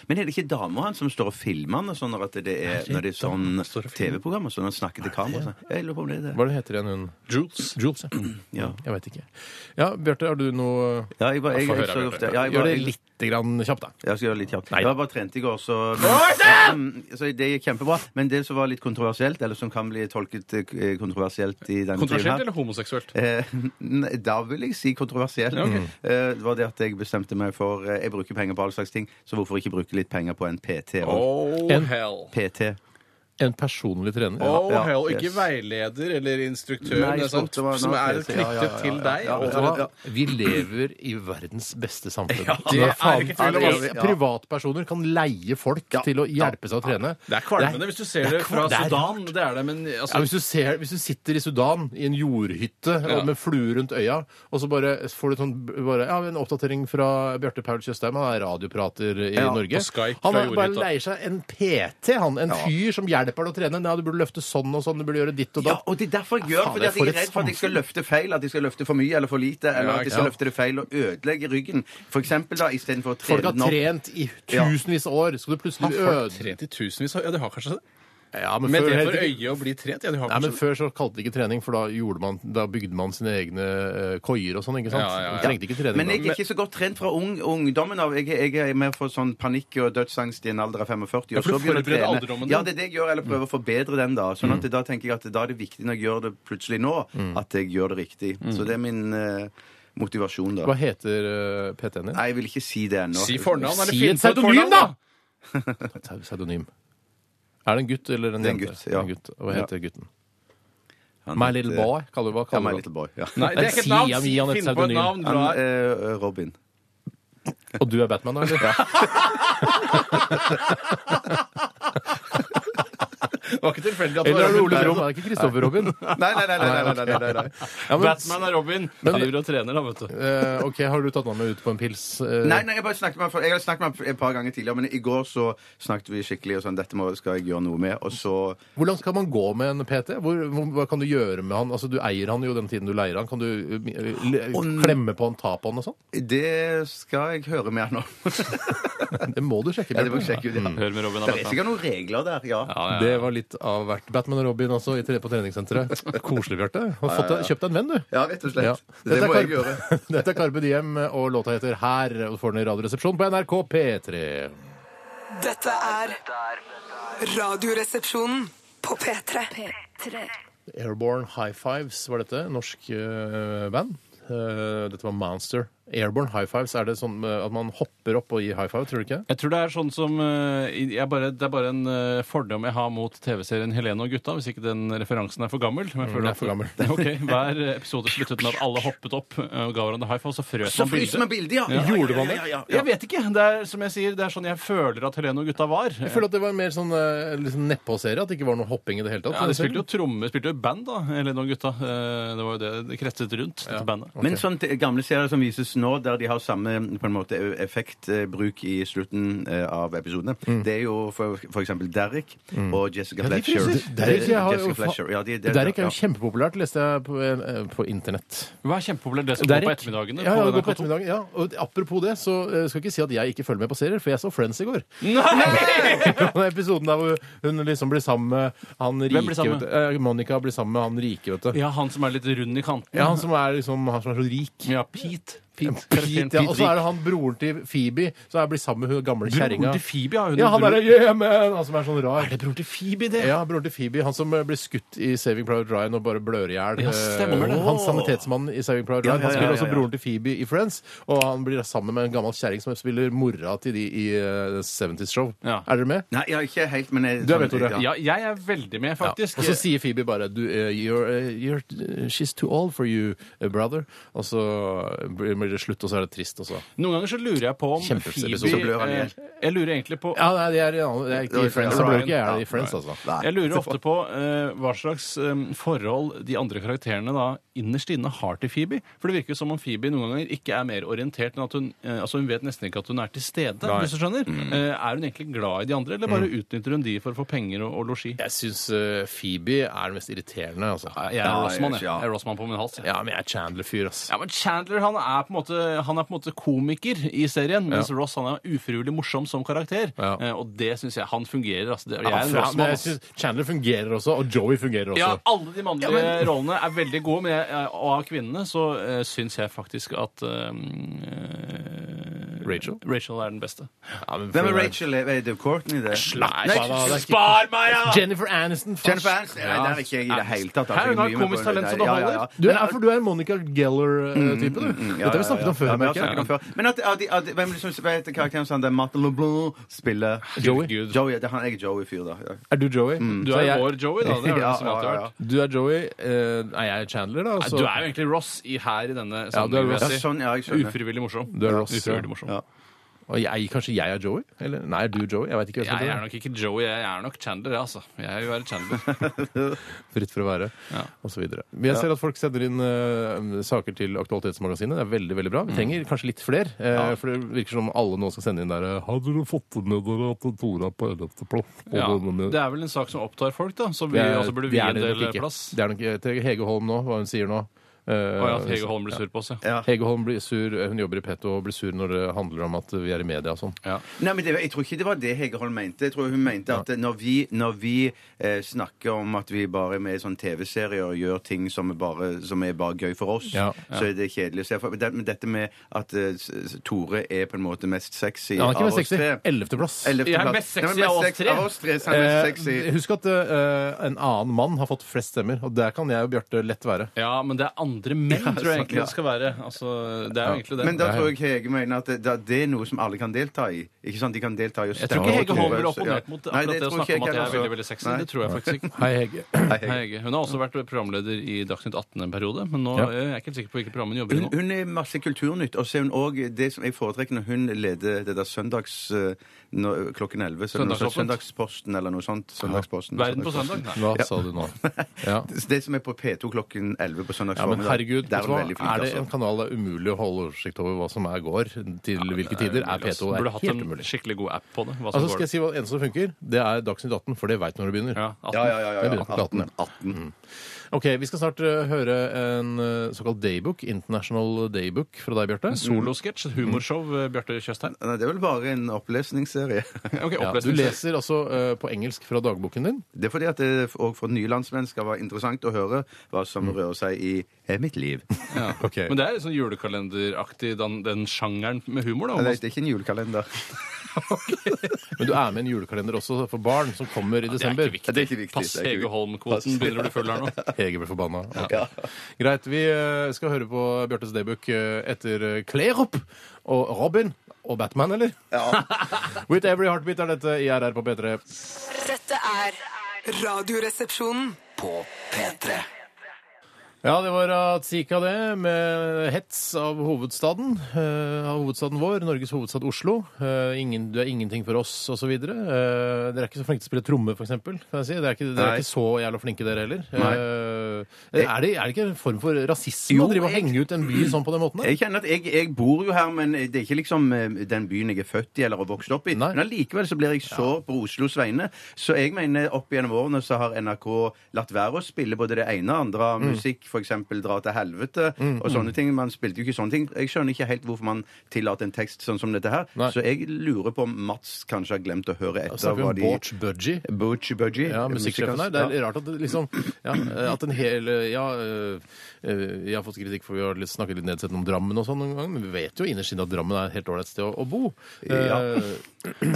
Men er det ikke damer han som står og filmer han og sånn når, at det er, når det er sånn TV-program og sånn, og snakker til kamera og sånn? Jeg lurer på om det er det. Hva er det heter igjen hun? Jules. Jules, ja. Ja. Jeg veit ikke. Ja, Bjarte, har du noe Ja, jeg, bare, jeg, Få jeg, høre, så Bjarte. ofte, ja, jeg, Gjør bare, det jeg, lite grann kjapt, da. jeg skal gjøre det litt kjapt. Nei. Jeg var bare trent i går, så Mm, Så det gikk kjempebra. Men det som var litt kontroversielt, eller som kan bli tolket eh, kontroversielt i denne tiden Kontroversielt her eller homoseksuelt? Eh, nei, Da vil jeg si kontroversiell. Eh, Det var det at jeg bestemte meg for eh, Jeg bruker penger på all slags ting, så hvorfor ikke bruke litt penger på en PT og Oh, En- hell. PT? En personlig trener. Oh, Ja, hell. Ikke yes. veileder eller instruktør, Nei, men sånn, det var- som er Ja, ja, ja, ja, knyttet til deg. ja, Vet og- du hva? Vi lever i verdens beste samfunn. Ja, det Når er ikke tvil om, ass. alle Privatpersoner kan leie folk til å hjelpe seg å trene. Det er kvalmende hvis du ser det, er fra kval- det er Sudan. Det er det, men altså, Ja, hvis, du ser, hvis du sitter i Sudan i en jordhytte og med flue rundt øya, og så bare får du sånn, bare, ja, en oppdatering fra Bjarte Paul Tjøstheim, han er radioprater i Ja, Norge. på Skype han fra er- bare jordhytta. leier seg en PT, han. En fyr som hjelper deg å trene. Nei, du burde løfte sånn og sånn, du burde gjøre ditt og Ja, datt. og det er derfor jeg gjør det. Fordi fader, at jeg for er et redd for at jeg skal løfte feil. At jeg skal løfte for mye eller for lite. Eller at jeg skal ja. løfte det feil og ødelegge ryggen. For eksempel da, istedenfor å Folk trene har den opp. trent i tusenvis av år, skal du plutselig øde trent i tusenvis av Ja, de har kanskje det. ja, men Med før- det for øye å bli trent? Ja, de har Nei, men kanskje det. Før så kalte det ikke trening, for da, gjorde man, da bygde man sine egne eh, koier og sånn. ikke sant? Ja, ja, ja. Man Trengte ikke trening Men jeg da. er ikke så godt trent fra ung, ungdommen av. Jeg, er- jeg er mer for sånn panikk og dødsangst i en alder av 45. Og for du så begynner jeg å forbereder trene. alderdommen din. Ja, det er det jeg gjør. Eller prøver å forbedre den, da. Sånn at da tenker jeg at da er det viktig når jeg gjør det plutselig nå, at jeg gjør det riktig. Så det er min eh, motivasjon, da. Hva heter eh, PT-en din? Nei, jeg vil ikke si det ennå. Si fornavn, eller Si finn et på et pseudonym, fornavn, da! Pse- Pseudonym. Er det en gutt eller en Det er en jente? gutt, ja. Hva Ja. heter gutten? Han My heter- Little Boy? Kaller du hva? Ja, Kaller My du Little Boy. Ja. Nei, det er ikke et navn. Si ham, gi han et Finn på et pseudonym. navn. Han, Dra. eh, Robin. Og du er Batman, da? eller? Det var ikke tilfeldig at det Eller er var det Robin. Ole Brumm? Er det ikke Kristoffer Robin? Nei, nei, nei. nei, nei, nei, nei, nei, nei. Ja, men, Batman er Robin. Han driver og trener, da, vet du. eh, OK, har du tatt med meg ut på en pils? eh, Nei, nei, jeg, bare snakket med, han for- jeg har snakket med han et par ganger tidligere, men i går så snakket vi skikkelig og sånn, dette må, skal jeg gjøre noe med, og så Hvor langt kan man gå med en PT? Hvor, hvor, hva kan du gjøre med han? Altså, Du eier han jo den tiden du leier han. Kan du eh, le- n- klemme på han, ta på han og sånn? Det skal jeg høre med han om. Det må du sjekke. Ja, det må Bjørte. jeg sjekke ut, ja. Hør med Robin. altså. Det er sikkert noen regler der, ja. Det var litt av hvert. Batman og Robin altså, i tre- på treningssenteret. Koselig, Bjarte. Har fått deg- kjøpt deg en venn, du. Ja, rett og slett. Ja. Det Dette må er jeg gjøre. Carpe- Dette er Carpe Diem, og låta heter Her. Og du får den i Radioresepsjonen på NRK P3. Dette er Radioresepsjonen på P3. Airborne High Fives var dette. Norsk eh, band. Eh, dette var Monster. Airborne High Fives, er det sånn eh, at man hopper opp og gir high five? Tror du ikke? Jeg tror det er sånn som eh, jeg bare, Det er bare en eh, fordom jeg har mot TV-serien Helene og gutta, hvis ikke den referansen er for gammel. Men jeg den Mm, føler er at- for gammel. Ok, Hver eh, episode sluttet med at alle hoppet opp eh, og ga hverandre high five, og så frøs Så man fryser man bildet. bildet, ja. Ja. Gjorde man det? Ja, ja, Jeg vet ikke. Det er som jeg sier, det er sånn jeg føler at Helene og gutta var. Jeg føler at det var en mer sånn eh, liksom nedpå-serie. At det ikke var noe hopping i det sånn. hele tatt. Ja, De spilte jo tromme, spilte jo band, da, Helene og gutta. Eh, Det var jo det det kretset rundt, dette bandet. Men sånne sånn gamle serier som vises nå, der de har samme på en måte effektbruk i slutten eh, av episodene, det er jo for, for eksempel Derrick og Jessica Ja, de Fletcher. frises. Derrick, jeg har jo Jessica fa- Fletcher. Ja, de- de- Derek er ja. jo kjempepopulært, leste jeg på, eh, på internett. Hva er kjempepopulært? Det som går Derek? på ettermiddagene? Ja, ja, på det går på NRK2? ettermiddagen, ja. Og apropos det, så eh, skal jeg ikke si at jeg ikke følger med på serier, for jeg så Friends i går. Den episoden der hvor hun liksom blir sammen med han rike, blir sammen med? vet du. Eh, Monica blir sammen med han rike, vet du. Ja, han som er litt rund i kanten. Ja, han som er liksom, han som er så rik. Ja, Pete. Pete. Pete, ja. Og så er det han broren til Phoebe, som er blitt sammen med hun gamle kjerringa. Broren til Phoebe, ja. Hun Ja, han bror- derre yeah, man, han som er sånn rar. Er det broren til Phoebe, det? Ja, broren til Phoebe, han som eh, ble skutt i Saving Private Ryan og bare blør i hjel. Ja, stemmer det. Eh, Han sanitetsmannen i Saving Private Ryan. Ja, ja, ja, Han spiller også ja, ja. broren til Phoebe i Friends, og han blir sammen med en gammel kjerring som spiller mora til de i eh, 70's Show. Ja. Er dere med? Nei, ja, ikke helt, men jeg, sånn- Du er med, Tore. Ja. Ja, jeg er veldig med, faktisk. Og så sier Phoebe bare du, eh, you're, eh, you're, eh, She's too old for you, eh, brother. Og så eh, blir det slutt, og så er det trist også. Noen ganger så lurer jeg på om Kjempeepisode. Phoebe Så blør han eh, Jeg lurer egentlig på Ja, nei, det er, i en annen- det er ikke i Friends. Da blir det ikke jeg i Friends, altså. Nei. Jeg lurer ofte på eh, hva slags eh, forhold de andre karakterene da innerst inne har til Phoebe. For det virker jo som om Phoebe noen ganger ikke er mer orientert enn at hun eh, Altså hun vet nesten ikke at hun er til stede, hvis du skjønner. Eh, er hun egentlig glad i de andre, eller bare utnytter hun de for å få penger og, og losji? Jeg syns eh, Phoebe er den mest irriterende, altså. Jeg er Ja, Rossmann, jeg. ja. jeg er Rossmann på min hals. Jeg. Ja, men jeg er Chandler-fyr, ass. Ja, men Chandler han er på en måte, han er på en måte komiker i serien, mens Ross han er ufrivillig morsom som karakter. Ja. Eh, og det syns jeg han fungerer. Altså. Det, jeg Ja, er en fra- men Rossmann. jeg ass. synes Chandler fungerer også, og Joey fungerer også. Ja, alle de mannlige rollene er veldig gode, men jeg, jeg- og av kvinnene så uh, syns jeg faktisk at eh, Rachel? Rachel er den beste. Ja, men Hvem er Rachel? Er det Courtney, det? Slapp av, da. det er ikke- Spar meg, ja! Jennifer Aniston. fast. Jennifer Aniston? Nei, det er ikke jeg i det hele tatt. Her, hun har komisk talent som det holder. Du er, ja, for du er en Monica Mm, Geller-type, du. Dette har vi snakket om før. Ja, vi har merker jeg. snakket om før. Men at, at, at, hvem liksom, vet karakteren som det er Martin LeBlanc spiller Joey. Joey, det er han, Jeg er Joey-fyr, da. Ja. Er du Joey? altså, mm. Du Så er jeg- vår Joey, da. Det er det Ja, som alltid ja, har ja. vært. Du er Joey. eh, nei, jeg er Chandler, da. Nei, så- Du er jo egentlig Ross i, her i denne du er sammenhengen. vil Ross. jeg Ja, si. sånn, ja, jeg skjønner. Ufrivillig morsom. Du er Ross, ja. Ufrivillig morsom. Ja. Og jeg, kanskje jeg er Joey? Eller nei, er du Joey? Jeg vet ikke. hva som Jeg er heter det. nok ikke Joey, jeg er nok Chandler, jeg, altså. Jeg vil være Chandler. Fritt for å være, Ja. og så videre. Men jeg ser at folk sender inn eh, saker til Aktualitetsmagasinet. Det er veldig veldig Mm. bra. Vi trenger kanskje litt flere. eh, For det virker som alle nå skal sende inn der eh, Har dere fått med dere at Tore er på 11. plass? Ja. Og denne med- Det er vel en sak som opptar folk, da, så vi Det er- også burde det vie er en det nok del ikke. plass. Det er nok ikke. Til Hege Holm nå, hva hun sier nå. Eh, Og ja, at Hege Holm blir sur på oss, ja. Ja. Hege Holm blir sur, eh, hun jobber i Petto og blir sur når det handler om at vi er i media og sånn. ja. Nei, men det, Jeg tror ikke det var det Hege Holm mente. Jeg tror Hun mente at når vi, når vi eh, snakker om at vi bare er med i sånne TV-serier og gjør ting som er bare, som er bare gøy for oss, Ja. så er det kjedelig. Så jeg, får- det, men dette med at eh, s- s- Tore er på en måte mest sexy Ja, han er ikke av mest oss sexy. tre 11. plass. Ellevte Jeg er plass. mest sexy Nei, men av oss sexy tre. Av oss tre så er han mest sexy. Eh, husk at eh, en annen mann har fått flest stemmer, og der kan jeg og Bjarte lett være. Ja, men det er andre menn, Ja, tror jeg sant, egentlig ja. det skal være. Altså, det er jo egentlig det. Men da tror jeg Hege mener at det, da- det er noe som alle kan delta i. Ikke sant? De kan delta i å jeg tror stemme ikke Hege på Holm Tore, ville så- ja. opponert mot Nei, akkurat det, å tror snakke om ikke at jeg er heller, altså. veldig veldig sexy. Nei. Det tror jeg faktisk ikke. Hei, Hege. Hei, Hege. Hun har også vært programleder i Dagsnytt 18 en periode, men nå Ja. eh, jeg er ikke helt sikker på hvilket program hun jobber i Hun, nå. hun er masse kulturnytt. Og så er hun også det som jeg foretrekker når hun leder det der søndags eh, når, klokken 11. Så er det noe sånt, Søndagsåpent. Søndagsposten eller noe sånt. Søndagsposten. Verden på Søndagsposten. søndag? Nei. Hva sa du nå? Ja. Det som er på P2 klokken 11 på søndags Ja, men formiddag, herregud, der er vet du hun hva? veldig flink, er det altså. en kanal det er umulig å holde oversikt over hva som er går til hvilke tider? Er Mulig, altså. P2 er Burde hatt helt en umulig. skikkelig god app på det. Hva som Altså skal jeg si hva eneste som funker? Det er Dagsnytt 18, for det veit når det begynner. går. Ja, 18. Ja, ja, ja. ja, Det ja. begynner på Mm. 18. platen, 18. Ok, Vi skal snart eh, høre en eh, såkalt daybook, International Daybook, fra deg, Bjarte. Solosketsj, Mm. humorshow, eh, Bjarte Tjøstheim. Nei, det er vel bare en opplesningsserie. Ok, Ja, du opplesning. leser altså eh, på engelsk fra dagboken din. Det er fordi at det òg for nye landsmenn skal være interessant å høre hva som Mm. rører seg i eh, mitt liv. Ja. Ok. Men det er sånn julekalenderaktig, den, den sjangeren med humor, Nei, da. Det er ikke en julekalender. Men du er med i en julekalender også for barn, som kommer i Det er desember. ikke Ja, viktig. det er ikke viktig, Pass det er ikke Hege viktig. Holm-kvoten. Begynner å bli full her nå? Hege ble forbanna. Ok. Greit. Vi eh, skal høre på Bjartes daybook eh, etter eh, Klerup og Robin og Batman, eller? With Every Heartbeat er dette i RR på P3. Dette er Radioresepsjonen. På P3. Ja, det var Atsika det, med hets av hovedstaden. eh, av hovedstaden vår, Norges hovedstad Oslo. Eh, ingen, du er ingenting for oss, osv. Uh, dere er ikke så flinke til å spille tromme, f.eks. Kan jeg si. Dere er ikke, dere er Nei. ikke så jævla flinke, dere heller. Nei. Eh, er, det, er det ikke en form for rasisme å Jo, drive og jeg- henge ut en by sånn på den måten? da? Jeg kjenner at jeg, jeg bor jo her, men det er ikke liksom eh, den byen jeg er født i eller har vokst opp i. Nei. Men allikevel så blir jeg så på Oslos vegne. Så jeg mener opp gjennom årene så har NRK latt være å spille både det ene og andre Mm. av musikk, f.eks. Dra til helvete og sånne ting. Man spilte jo ikke sånne ting. Jeg skjønner ikke helt hvorfor man tillater en tekst sånn som dette her. Nei. Så jeg lurer på om Mats kanskje har glemt å høre Da etter snakker vi hva om de Borch Budgie. Boochie Budgie. Ja, musikksjefen her. Det er Ja. rart at det liksom ja, At en hel Ja, øh, øh, jeg har fått kritikk for vi har litt- snakket litt nedsettende om Drammen og sånn noen ganger, men vi vet jo innerst inne at Drammen er et helt ålreit sted å, å bo. Ja. Eh,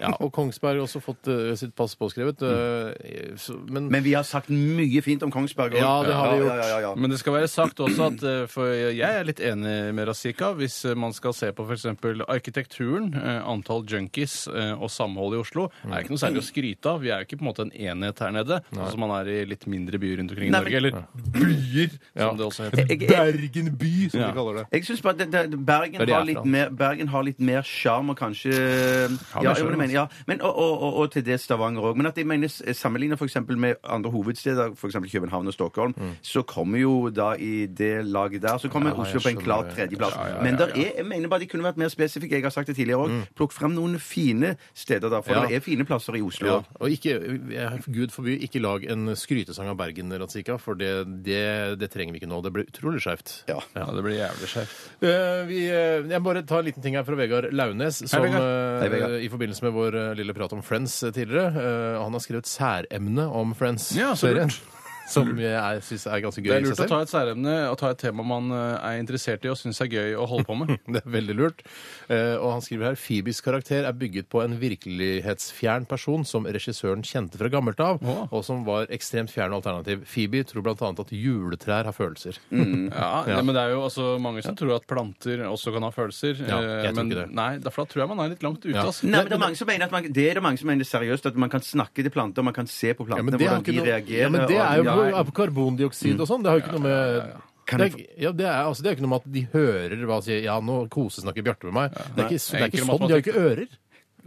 ja, og Kongsberg har også fått øh, sitt pass påskrevet. øh, så, men, Men vi har sagt mye fint om Kongsberg. også. Ja, det har vi Ja, gjort. Ja, ja, ja, ja. Men det skal være sagt også at eh, for jeg er litt enig med Razika. Hvis eh, man skal se på f.eks. arkitekturen, eh, antall junkies eh, og samhold i Oslo, er ikke noe særlig å skryte av. Vi er jo ikke på en måte en enhet her nede, sånn som man er i litt mindre byer rundt omkring i Nei, Norge. Eller byer, som det også heter. Jeg- jeg- Bergen by, som Ja. de kaller det. Jeg synes bare det, det, Bergen, Det er de har er litt fra. mer, Bergen har litt mer sjarm og kanskje Har ja, mer sjarm, jo, men, jeg mener, ja, men, og, og, og, og til det Stavanger òg. Men at jeg mener sammenligna f.eks. med andre hovedsteder, f.eks. København og Stockholm, så kommer jo da i det laget der så kommer Mm. Ja, jeg Oslo på en skjønner klar det. tredjeplass. Ja, ja, ja, Mm. Men der er, jeg mener bare de kunne vært mer spesifikke. Jeg har sagt det tidligere òg. Plukk fram noen fine steder der, for Ja. det er fine plasser i Oslo. Ja, og ikke, jeg- Gud forby, ikke lag en skrytesang av Bergen, Ratzika, for det, det, det trenger vi ikke nå. Det blir utrolig skjevt. Ja. Ja, det blir jævlig skjevt. Eh, vi, eh, jeg må bare ta en liten ting her fra Vegard Launes, som Vegard. eh, Hei, Vegard. i forbindelse med vår eh, lille prat om Friends eh, tidligere eh, Han har skrevet særemne om Ja, så Friends-serien. lurt. som jeg syns er ganske gøy Det i er seg lurt å selv. ta et særemne og ta et tema man eh, er interessert i og syns er gøy å holde på med. Det er veldig lurt. Eh, og han skriver her Phoebes karakter er bygget på en virkelighetsfjern person som regissøren kjente fra gammelt av, Å. og som var ekstremt fjern og alternativ. Phoebe tror bl.a. at juletrær har følelser. Mm. Ja, Ja. det- Men det er jo altså mange som tror at planter også kan ha følelser. Ja, jeg eh, tror men ikke det. Nei, da- for da tror jeg man er litt langt ute. altså. Ja. ass. Nei, men det er, mange som mener at man, det er det mange som mener seriøst, at man kan snakke til planter, man kan se på Ja, plantene, men det, har hvordan ikke de noe, reagerer. ja, men det og- er jo Ja. på karbondioksid og sånn. Det har jo ikke noe med Kan det jeg er, ja, det, er, altså, det er jo ikke noe med at de hører hva sier Ja, nå kosesnakker Bjarte med meg. Det er ikke, det er Enkel ikke sånn. De har jo ikke ører.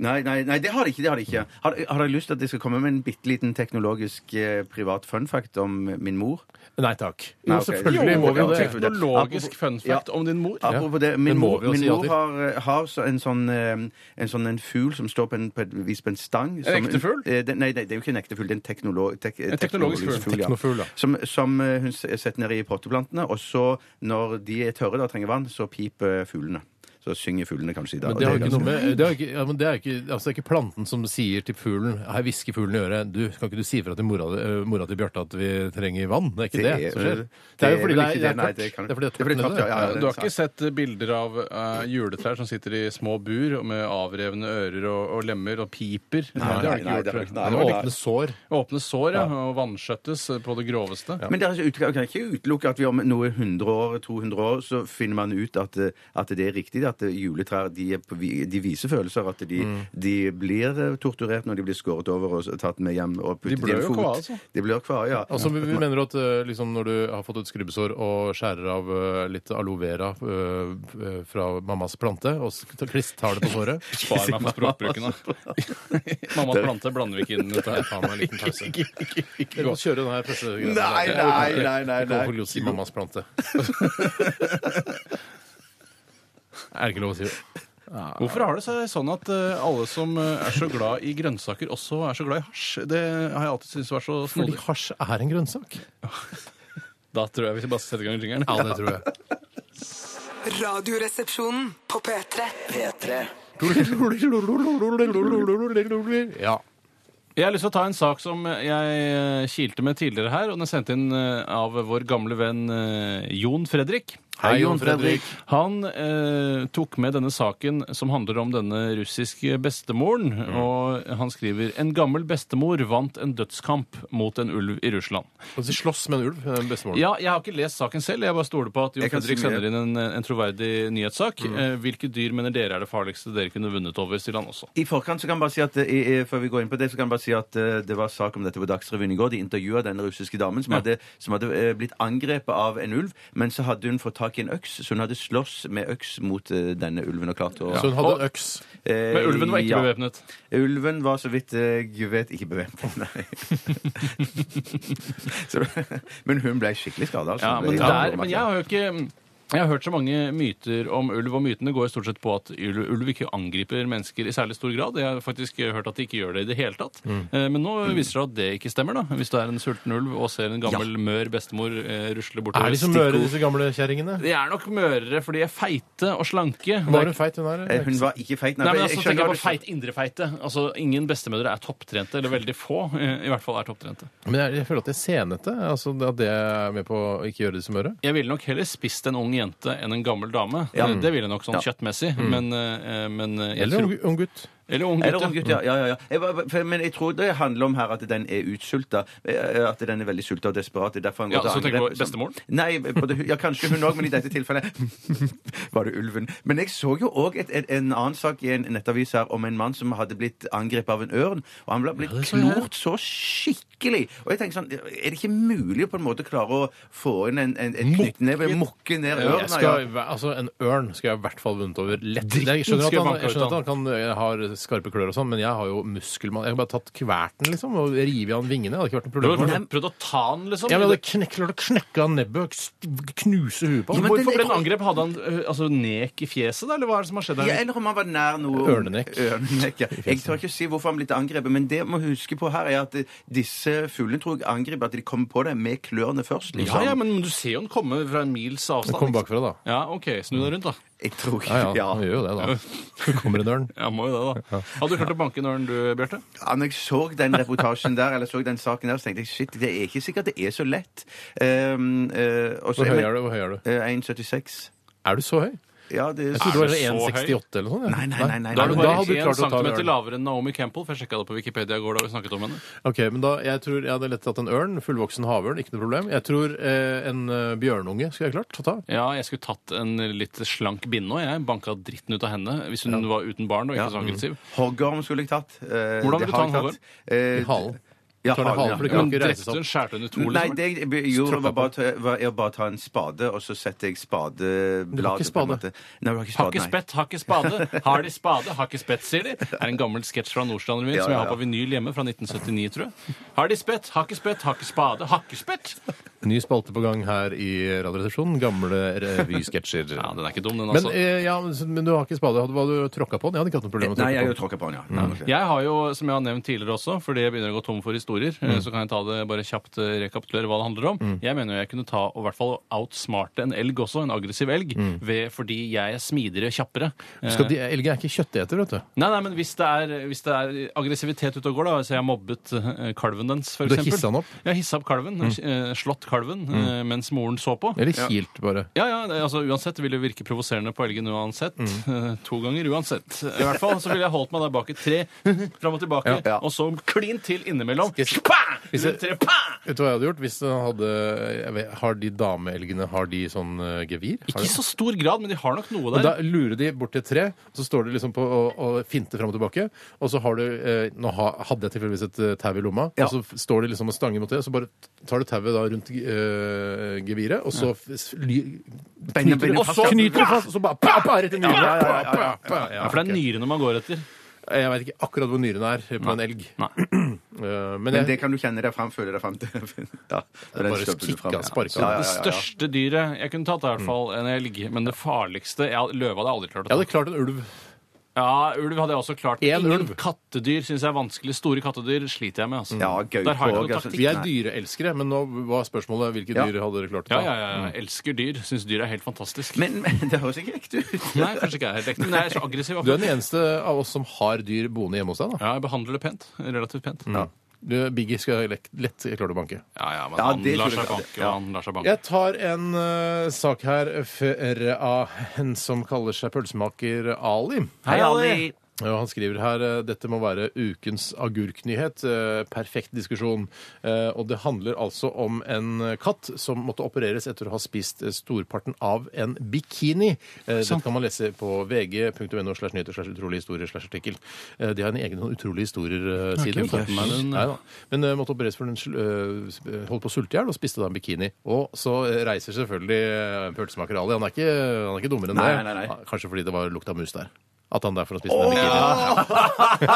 Nei, nei, nei, det har det ikke. det Har det ikke. Har, har dere lyst til at jeg skal komme med en bitte liten teknologisk eh, privat fun fact om min mor? Nei takk. Nei, Jo, ok. selvfølgelig Jo, må vi jo ja, det. ok. Teknologisk fun fact om din mor. Apropos det, min den må mor, vi jo min si ja mor til. har, eh, har så en sånn, eh, en sånn en fugl som står på, en, på et vis på en stang. som- ekte fugl? Eh, det- Nei, det det er jo ikke en ekte fugl. Det er en, teknolo, tek, teknologisk fugl. ja. Teknofugl, ja. Som, som eh, hun s- setter ned i potteplantene, og så når de er tørre da, og trenger vann, så piper fuglene. Så synger fuglene kanskje i dag. Men og det har er ikke ganske- noe med det er ikke, ja, men det, er ikke, altså, det er ikke planten som sier til fuglen Her hvisker fuglen i øret Du, kan ikke du si fra til mora, eh, mora til Bjarte at vi trenger vann? Det er ikke det, Det er- som skjer. det Det er er jo fordi vel det ikke er, det det, er nei, tørt. det kan- Det er fordi det det er er fordi tørt tørt, ja, ja, Du har ikke sett bilder av eh, juletrær som sitter i små bur og med avrevne ører og, og lemmer og piper? det har du nei, ikke det har gjort. jeg tror ikke- nei, jeg. det Den var ikke- åpne sår Åpne sår ja, og vanskjøttes på det groveste. Men det er altså ut- kan ikke utelukke at vi om noe 100 år, 200 år, så finner man ut at, eh, at det er riktig at eh, juletrær de, er på, vi- de viser følelser, at de, Mm. de blir eh, torturert når de blir skåret over og s- tatt med hjem og puttet i blør en jo fot. kva, altså. De blør kva, ja. Altså, vi, vi mener at eh, liksom, når du har fått et skrubbesår og skjærer av eh, litt aloe vera eh, fra mammas plante og s- klist- tar det på såret Spar meg for språkbruken, da. Mammas plante blander vi ikke inn i dette Jeg her. tar meg en liten pause. Dere må kjøre den her første greia. Nei, nei, nei, nei, Ikke nei. lov å si mammas plante. Er det ikke lov å si det? Hvorfor har det seg sånn at eh, alle som eh, er så glad i grønnsaker, også er så glad i hasj? Det har jeg alltid syntes var så Fordi snodig. hasj er en grønnsak. Da tror jeg vi bare setter i gang jingeren. Ja, det tror jeg. Radioresepsjonen på P3. P3. Ja. Jeg har lyst til å ta en sak som jeg eh, kilte med tidligere her, og den er sendt inn eh, av vår gamle venn eh, Jon Fredrik. Hei, Jon Fredrik. Han eh, tok med denne saken som handler om denne russiske bestemoren. Mm. Og han skriver en gammel bestemor vant en dødskamp mot en ulv i Russland. Og så slåss med en ulv. eh, Bestemoren. Ja, Jeg har ikke lest saken selv. Jeg bare stoler på at Jon Jeg kan Mm. Fredrik si mye. sender inn en, en troverdig nyhetssak. Eh, hvilke dyr mener dere er det farligste dere kunne vunnet over? stiller han også. I forkant så kan jeg bare si at, eh, i- eh, Før vi går inn på det, så kan jeg bare si at eh, det var sak om dette på Dagsrevyen i går. De intervjua den russiske damen som hadde, som hadde eh, blitt angrepet av en ulv. Men så hadde hun fått tak i en øks, så hun hadde slåss med øks mot eh, denne ulven og klart å Så hun hadde øks. Eh, Men ulven var ikke ja. bevæpnet. Ulven var så vidt jeg vet ikke bevæpnet, nei. så, men hun ble skikkelig skada. Altså. Ja, Hun men, ble- der, men jeg har jo ikke jeg har hørt så mange myter om ulv, og mytene går stort sett på at ulv, ulv ikke angriper mennesker i særlig stor grad. Jeg har faktisk hørt at de ikke gjør det i det hele tatt. Eh, Men nå viser det seg at det ikke stemmer, da. Hvis du er en sulten ulv og ser en gammel mør bestemor eh, rusle bortover. Er de så Stikkord. møre, disse gamle kjerringene? De er nok mørere, for de er feite og slanke. Det er Var hun feit, hun her? Eh, Hun var ikke feit. Nei, men for altså, tenker jeg på feit, indrefeite. Altså, ingen bestemødre er topptrente, eller veldig få eh, i hvert fall er topptrente. Men jeg, jeg føler at det er senete. Altså det- at det er med på å ikke gjøre det som øre. Jeg ville nok heller spist en ung jente enn en gammel dame. Eh, Det ville jeg nok sånn kjøttmessig, men, eh, men eh, jeg Eller tror, ung- ung gutt. eller ung Mm. Eller gutt. ung ja. gutt, ja. ja, ja, ja. Jeg, bare- for- men jeg tror det handler om her at den er utsulta. Eh, At den er veldig sulta og desperat. Det er derfor han går Ja, til så angrep. tenker du på som- bestemoren? Nei, på det, ja, kanskje hun òg, men i dette tilfellet var det ulven. Men jeg så jo òg en annen sak i en nettavis her om en mann som hadde blitt angrepet av en ørn. Og han ble blitt det så jeg. klort så skikkelig. Og jeg tenker sånn, er det ikke mulig å på en måte klare å få inn en, en, en knyttneve, mokke ned ørna? Jeg ja. skal, i hver- altså, en ørn skal jeg i hvert fall vunnet over lett. Jeg skjønner at skal han, banke jeg ut skjønner at han kan, jeg har skarpe klør og sånn, men jeg har jo muskelmann. Jeg har bare tatt kverten liksom, og revet av han vingene. Det hadde ikke vært noe Du problem. hadde for meg. prøvd- prøvd å ta han, liksom? Ja, men Jeg hadde knekk- klart å knekke av nebbet og st- knuse huet på Ja, han. men- Hvorfor ble han angrep? Hadde han eh, altså, nek i fjeset, da, eller hva er det som har skjedd Ja, her? eller om han var nær noe Ørnenek. Ørnenek, ja. Jeg tør ikke si hvorfor han ble angrepet, men det man husker på her, er at eh, disse fuglene tror jeg angriper at de kommer på deg med klørne først. Ja, Liksom. ja, men du ser jo han komme fra en mils avstand. Kom ikke sant? bakfra, da. Ja, OK. Snu deg rundt, da. Jeg tror ikke Ja, ja, han ja. gjør jo det, da. Så kommer en ørn. Ja, må jo det, da. Hadde du klart å banke en ørn, du, Bjarte? Ja, Når jeg så den reportasjen der, eller så den saken der, så tenkte jeg shit, det er ikke sikkert det er så lett. Um, eh, og så- Hvor høy er du? Hvor høy er du? Eh, 1,76. Er du så høy? Ja, det Jeg trodde Er det du var så høy? 1,68 eller noe sånt. ja. Nei, nei, nei, nei, Da er nei. du men bare hadde du én klart å ta centimeter ørn. lavere enn Naomi Campbell, for jeg sjekka det på Wikipedia i går da vi snakket om henne. Ok, men da, Jeg tror jeg hadde lett tatt en ørn. Fullvoksen havørn, ikke noe problem. Jeg tror eh, en eh, bjørnunge skulle jeg klart å ta. Ja, jeg skulle tatt en litt slank binne òg, jeg. Banka dritten ut av henne hvis hun var uten barn og ikke så aggressiv. Hoggorm skulle jeg tatt. Eh, Hvordan vil det du har ta en jeg tatt. hoggorm? Eh, I halen. Ja, Tar den i halen, halen, for ja. det Men kan ikke reise drepte seg opp. hun, skjærte hun i to, Nei, liksom? det jeg be- gjorde, Tråkka var bare, å ta- var, jeg bare ta en spade, og så setter jeg spadebladet Du har ikke på en spade. måte. Nei, du har ikke Har spade, ikke nei. spett, har ikke spade. Har de spade, har ikke spett, sier de. Det er en gammel sketsj fra Nordstrand Revy Ja, som jeg ja, har på ja. vinyl hjemme fra 1979, tror jeg. Har de spett, har ikke spett, har ikke spade, har ikke spett. Ny spalte på gang her i Radioresepsjonen. Gamle revysketsjer. Ja, den er ikke dum, den, Men, altså. eh, ja, men du har ikke spade? Hadde- Hadde du tråkka på den? Jeg hadde ikke hatt noe problem med å Nei, jeg har tråkke jo på den. tråkka på den, ja. Mm. Nei, ok. Jeg har jo, som jeg har nevnt tidligere også, fordi jeg begynner å gå tom for historier, eh, så kan jeg ta det bare kjapt eh, rekapitulere hva det handler om. Jeg mener jo jeg kunne ta og i hvert fall outsmarte en elg også, en aggressiv elg, ved, fordi jeg er smidigere, kjappere. Eh, Skal de, Elgen er ikke kjøtteter, vet du. Nei, nei, men hvis det er, hvis det er aggressivitet ute og går, da, så jeg har mobbet eh, kalven dens, for Du eksempel. hissa den opp? Mm. Jeg har hissa opp kalven, eh, slått kalven, eh, mens moren så på. Eller kilt, bare. Ja, ja, det- altså uansett det ville virke provoserende på elgen uansett. Mm. Eh, To ganger uansett. I hvert fall så ville jeg holdt meg der bak et tre, fram og tilbake, Ja, ja. og så klin til innimellom. Skal jeg- Pah! Hvis jeg- Rundt treet, pah! Vet du hva jeg hadde gjort hvis den hadde jeg vet, Har de dameelgene har de sånn eh, gevir? Har Ikke i de? sånn. så stor grad, men de har nok noe Og der. da lurer de bort til et tre, så står de liksom på og, og finter fram og tilbake. Og så har du eh, Nå ha, hadde jeg tilfeldigvis et eh, tau i lomma, Ja. og så f- står de liksom og stanger mot det, så bare tar du tauet da rundt eh, geviret, og så f- s- ly- Beina- knyter du beina og så fast, ja. knyter du fast, og så bare pa, pa, rett i nyren. Ja, ja, ja, ja, Pa, ja. pa, pa. ja, for det er ok. nyrene man går etter. Jeg veit ikke akkurat hvor nyrene er på en elg. Nei. Eh, Men, Men det jeg, kan du kjenne deg fram, føle deg fram til. Ja, den bare støpper du fram. kikka, altså, sparka. Ja, ja, Det ja, ja. største dyret jeg kunne tatt, er i Mm. hvert fall en elg. Men det farligste jeg, Løve hadde jeg aldri klart jeg å ta. hadde klart en ulv. Ja, ulv hadde jeg også klart. En Ingen ulv. kattedyr syns jeg er vanskelig. Store kattedyr sliter jeg med. altså. Ja, gaupe Der har jeg også, ikke noe altså. taktikk. Vi er Nei. dyreelskere, men nå var spørsmålet hvilke Ja. dyr hadde dere klart å Ja, ta? ja, ja. jeg Elsker dyr. Syns dyr er helt fantastisk. Men, men det høres ikke riktig ut. Nei, kanskje ikke jeg er helt ekte, men jeg er så aggressiv. Du er den eneste av oss som har dyr boende hjemme hos deg, da. Ja, jeg behandler det pent. Relativt pent. Ja. Du, Biggie skal jeg lett, lett klare å banke. Ja, ja, men Ja, han det lar tror jeg seg ikke. banke, og Ja. han lar seg banke. Jeg tar en eh, sak her fra en som kaller seg pølsemaker Ali. Hei, Ali! Og han skriver her eh, dette må være ukens agurknyhet. eh, Perfekt diskusjon. Eh, Og det handler altså om en eh, katt som måtte opereres etter å ha spist eh, storparten av en bikini. Eh, Dette kan man lese på vg.no slash nyheter slash utrolige historier slash artikkel. Eh, De har en egen sånn utrolige historier-side. ikke fått med den. Men eh, måtte opereres for den sl- eh, sp- eh, holdt på å sulte i hjel og spiste da en bikini. Og så eh, reiser selvfølgelig eh, pølsemaker Ali. Han er ikke, han er ikke dummere enn Nei, det. nei, nei, nei. Kanskje fordi det var lukt av mus der. At han derfor har spist den bikini. Det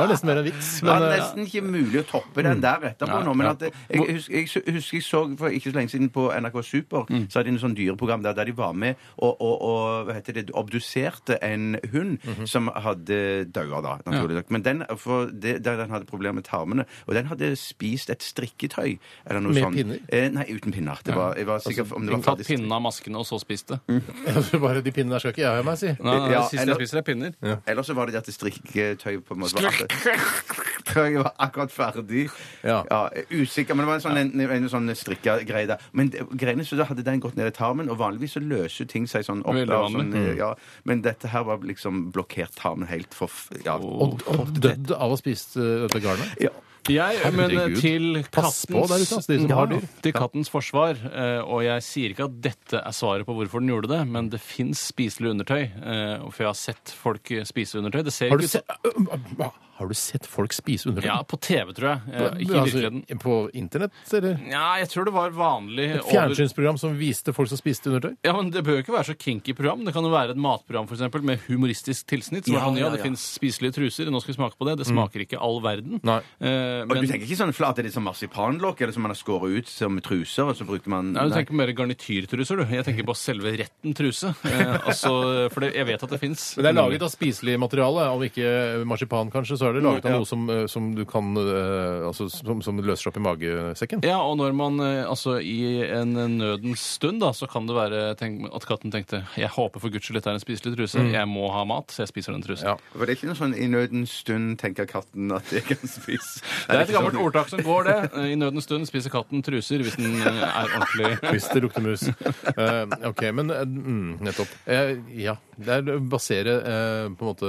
var nesten mer en vits. Det Men, er eh, Mm. nesten ikke mulig å toppe den der etterpå nå. Men at det, jeg, husker, jeg su- husker jeg så for ikke så lenge siden på NRK Super, Mm. så hadde de en sånn dyreprogram der, der de var med og, og, og hva heter det, obduserte en hund Mhm. som hadde daua, da. Naturlig nok. Men den, for det, der den hadde problemer med tarmene, og den hadde spist et strikketøy eller noe Med sånt. pinner? Altså Eh, nei, uten pinner. Det var, jeg var sikker på om det var Hun tatt ferdig- pinnen av maskene og så spist det. eh, bare de pinnene der skal ikke jeg ha meg, si. Nei, nei, Mm. Ja, det siste eller- jeg spiser, er pinner. Eller så var det det at det strikketøyet på en måte var akkurat, Tøyet var akkurat ferdig. Ja. usikker, men det var en sånn, en, en sånn strikkegreie der. Men det- greiene så da hadde den gått ned i tarmen, og vanligvis så løser ting seg sånn opp. Veldig da, vanlig. Mm. sånn, eh, ja. Men dette her var liksom blokkert tarmen helt for f- ja. Og, og dødd av å spise eh, dette garnet. ja. Jeg, men eh, Herregud. til Pass kattens, på der ute, altså, de som har dyr. til kattens forsvar, eh, og jeg sier ikke at dette er svaret på hvorfor den gjorde det, men det fins spiselig undertøy. eh, og For jeg har sett folk eh, spise undertøy. Det ser Har du, ikke ut se, har du sett folk spise undertøy? Ja, på TV, tror jeg. Eh, ikke i altså, virkeligheten. på internett, eller? Ja, jeg tror det var vanlig over Fjernsynsprogram som viste folk som spiste undertøy? Ja, men Det bør jo ikke være så kinky program. Det kan jo være et matprogram for eksempel, med humoristisk tilsnitt. Som Ja, er sånn, ja, ja, Det ja. fins spiselige truser, nå skal vi smake på det. Det smaker ikke all verden. Mm. Nei. Eh, Og men du tenker ikke sånn flate litt sånn marsipanlokk, eller som man har skåret ut som truser, og så bruker man Nei, du Nei. tenker mer garnityrtruser, du. Jeg tenker på selve retten truse. Eh, altså, for det, jeg vet at det fins. Men det er laget av spiselig materiale. Om ikke eh, marsipan, kanskje, så er det laget av noe som, eh, som du kan eh, Altså som, som løser seg opp i magesekken. Ja, og når man eh, altså i en nødens stund, da, så kan det være tenk, at katten tenkte Jeg håper for guds skyld dette er en spiselig truse. Jeg må ha mat, så jeg spiser den trusen. Ja. For det er ikke noe sånn i nødens stund tenker katten at jeg kan spise Det er et sånn- gammelt ordtak som går, det. Eh, I nødens stund spiser katten truser hvis den eh, er ordentlig Hvis det lukter mus. Eh, OK, men eh, mm, nettopp. Eh, ja. Det er å basere eh, på en måte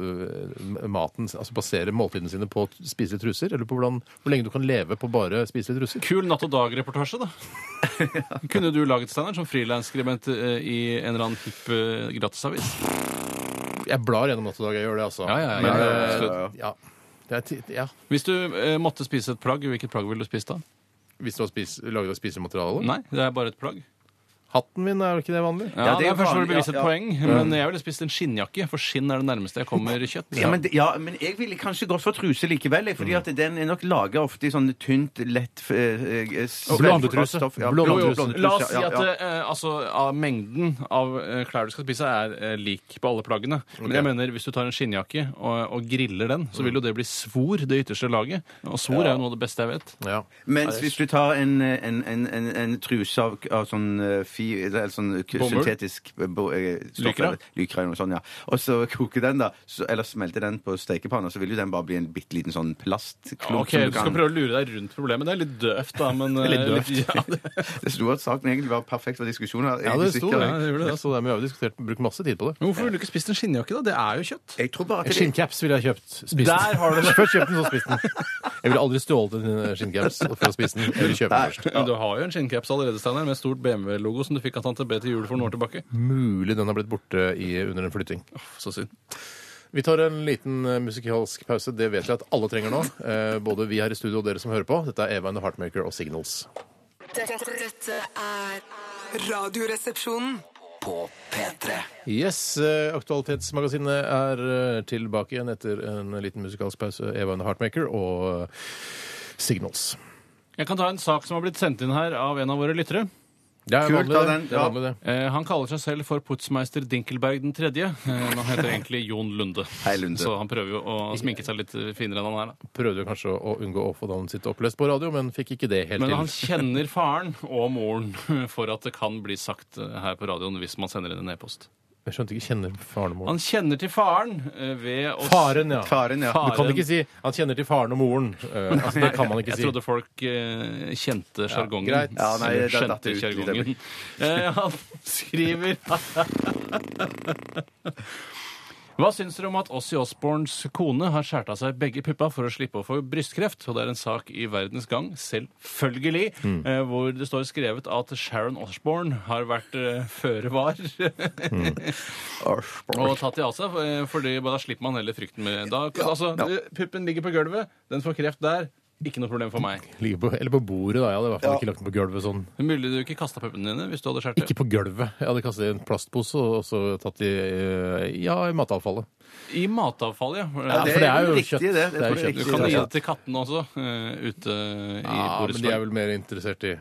eh, maten Altså basere måltidene sine på t- spiselige truser? Eller på hvordan, hvor lenge du kan leve på bare spiselige truser? Kul Natt og Dag-reportasje, da. Kunne du laget Steinar som frilansskribent eh, i en eller annen hipp eh, gratisavis? Jeg blar gjennom natt og dag, jeg gjør det, altså. Ja, ja, ja, men, ja, ja, eh, absolutt. ja. Det er ti- ja. Hvis du eh, måtte spise et plagg, hvilket plagg ville du spist da? Hvis du har spis, laget av spisemateriale? Nei, det er bare et plagg. Hatten min er jo ikke det vanlig? Ja, Mm. det det er er først for å vanlig, bevise et ja, ja. poeng, men jeg ville spist en skinnjakke, for skinn er det nærmeste jeg kommer kjøtt. Ja, men, det- ja, men jeg ville kanskje gått for truse likevel, jeg, fordi at den er nok laga ofte i sånn tynt, lett eh, Blondetruse. Stoff, ja. Blondetruse. Jo, jo, blondetruse, La oss si ja, ja. at eh, altså, av mengden av eh, klær du skal spise, er eh, lik på alle plaggene. Men jeg mener, hvis du tar en skinnjakke og, og griller den, så vil jo det bli svor, det ytterste laget. Og svor er jo noe av det beste jeg vet. Ja. Mens hvis du tar en, en, en, en, en truse av, av sånn, eh, fi, eller sånn k- Bomull? syntetisk eh, bo, eh, stoff, Lykra? eller Lykra eller noe sånt, ja. Og så koker den, da, så, eller smelter den på stekepanna, så vil jo den bare bli en bitte liten sånn plastklump. Ok, Du skal prøve å lure deg rundt problemet. Det er litt døvt, da. Men, eh, Litt døvt. ja, det- Det sto at saken egentlig var perfekt for diskusjoner. ja, det egentlig sto sitter- det. ja, det gjorde det. altså. det sto der, men vi har jo diskutert, brukt masse tid på det. Men Hvorfor ville du ikke spist en skinnjakke, da? Det er jo kjøtt. Jeg tror bare at En det- Skinncaps ville jeg kjøpt. Spist den. Der har du det. Først kjøpt den, så spist den. Jeg ville aldri stjålet en eh, skinncaps for å spise den. Jeg ville kjøpe den først. Men du har jo en skinncaps allerede, Steinar, med stort BMW-logo som du fikk av tante B til jul for noen år tilbake. Mulig den har blitt borte i, under en flytting. Så synd. Vi tar en liten eh, musikalsk pause. Det vet vi at alle trenger nå. Eh, både vi her i studio og dere som hører på. Dette er Eva and the Heartmaker og Signals. Dette, dette er Radioresepsjonen. På P3. Yes, eh, Aktualitetsmagasinet er eh, tilbake igjen etter en liten musikalsk pause. Eva and the Heartmaker og eh, Signals. Jeg kan ta en sak som har blitt sendt inn her av en av våre lyttere. Det er Kult, vanlig, da, det. den. det, er Ja. vanlig, det. Eh, han kaller seg selv for putsmeister Dinkelberg den tredje. Eh, men han heter egentlig Jon Lunde. Hei, Lunde. Så han prøver jo å sminke seg litt eh, finere enn han er. Da. Prøvde jo kanskje å- å unngå å få navnet sitt opplest på radio, men fikk ikke det helt Men han til. kjenner faren og moren for at det kan bli sagt eh, her på radioen hvis man sender inn en e-post. Jeg skjønte ikke kjenner faren og moren. Han kjenner til faren eh, ved å s- Faren, ja. Faren, ja. Du kan ikke si 'han kjenner til faren og moren'. Eh, altså, det kan man ikke Jeg si. trodde folk eh, kjente sjargongen. greit. Ja, nei, Eller det skjønte datt ut litt av sjargongen. Eh, han skriver Hva syns dere om at Ossie Osborns kone har skåret av seg begge puppa for å slippe å få brystkreft? Og det er en sak i Verdens Gang, selvfølgelig, eh, hvor det står skrevet at Sharon Osborn har vært eh, føre var og tatt de av seg, eh, fordi da slipper man heller frykten med da, Altså, puppen ligger på gulvet, den får kreft der. Ikke noe problem for meg. Ligger på, eller på bordet, da. Jeg hadde i hvert fall ikke lagt den på gulvet sånn. Men Ville du ikke kasta puppene dine hvis du hadde skåret Ikke på gulvet. Jeg hadde kastet i en plastpose og så tatt i eh, ja, i matavfallet. I matavfall, ja. Ja, for det er jo riktig, kjøtt. Det, Det er jo tror kjøtt. jeg Du riktig, kan det gi er det til kattene også, eh, ute i Ja, men de er borettslag. vel mer interessert i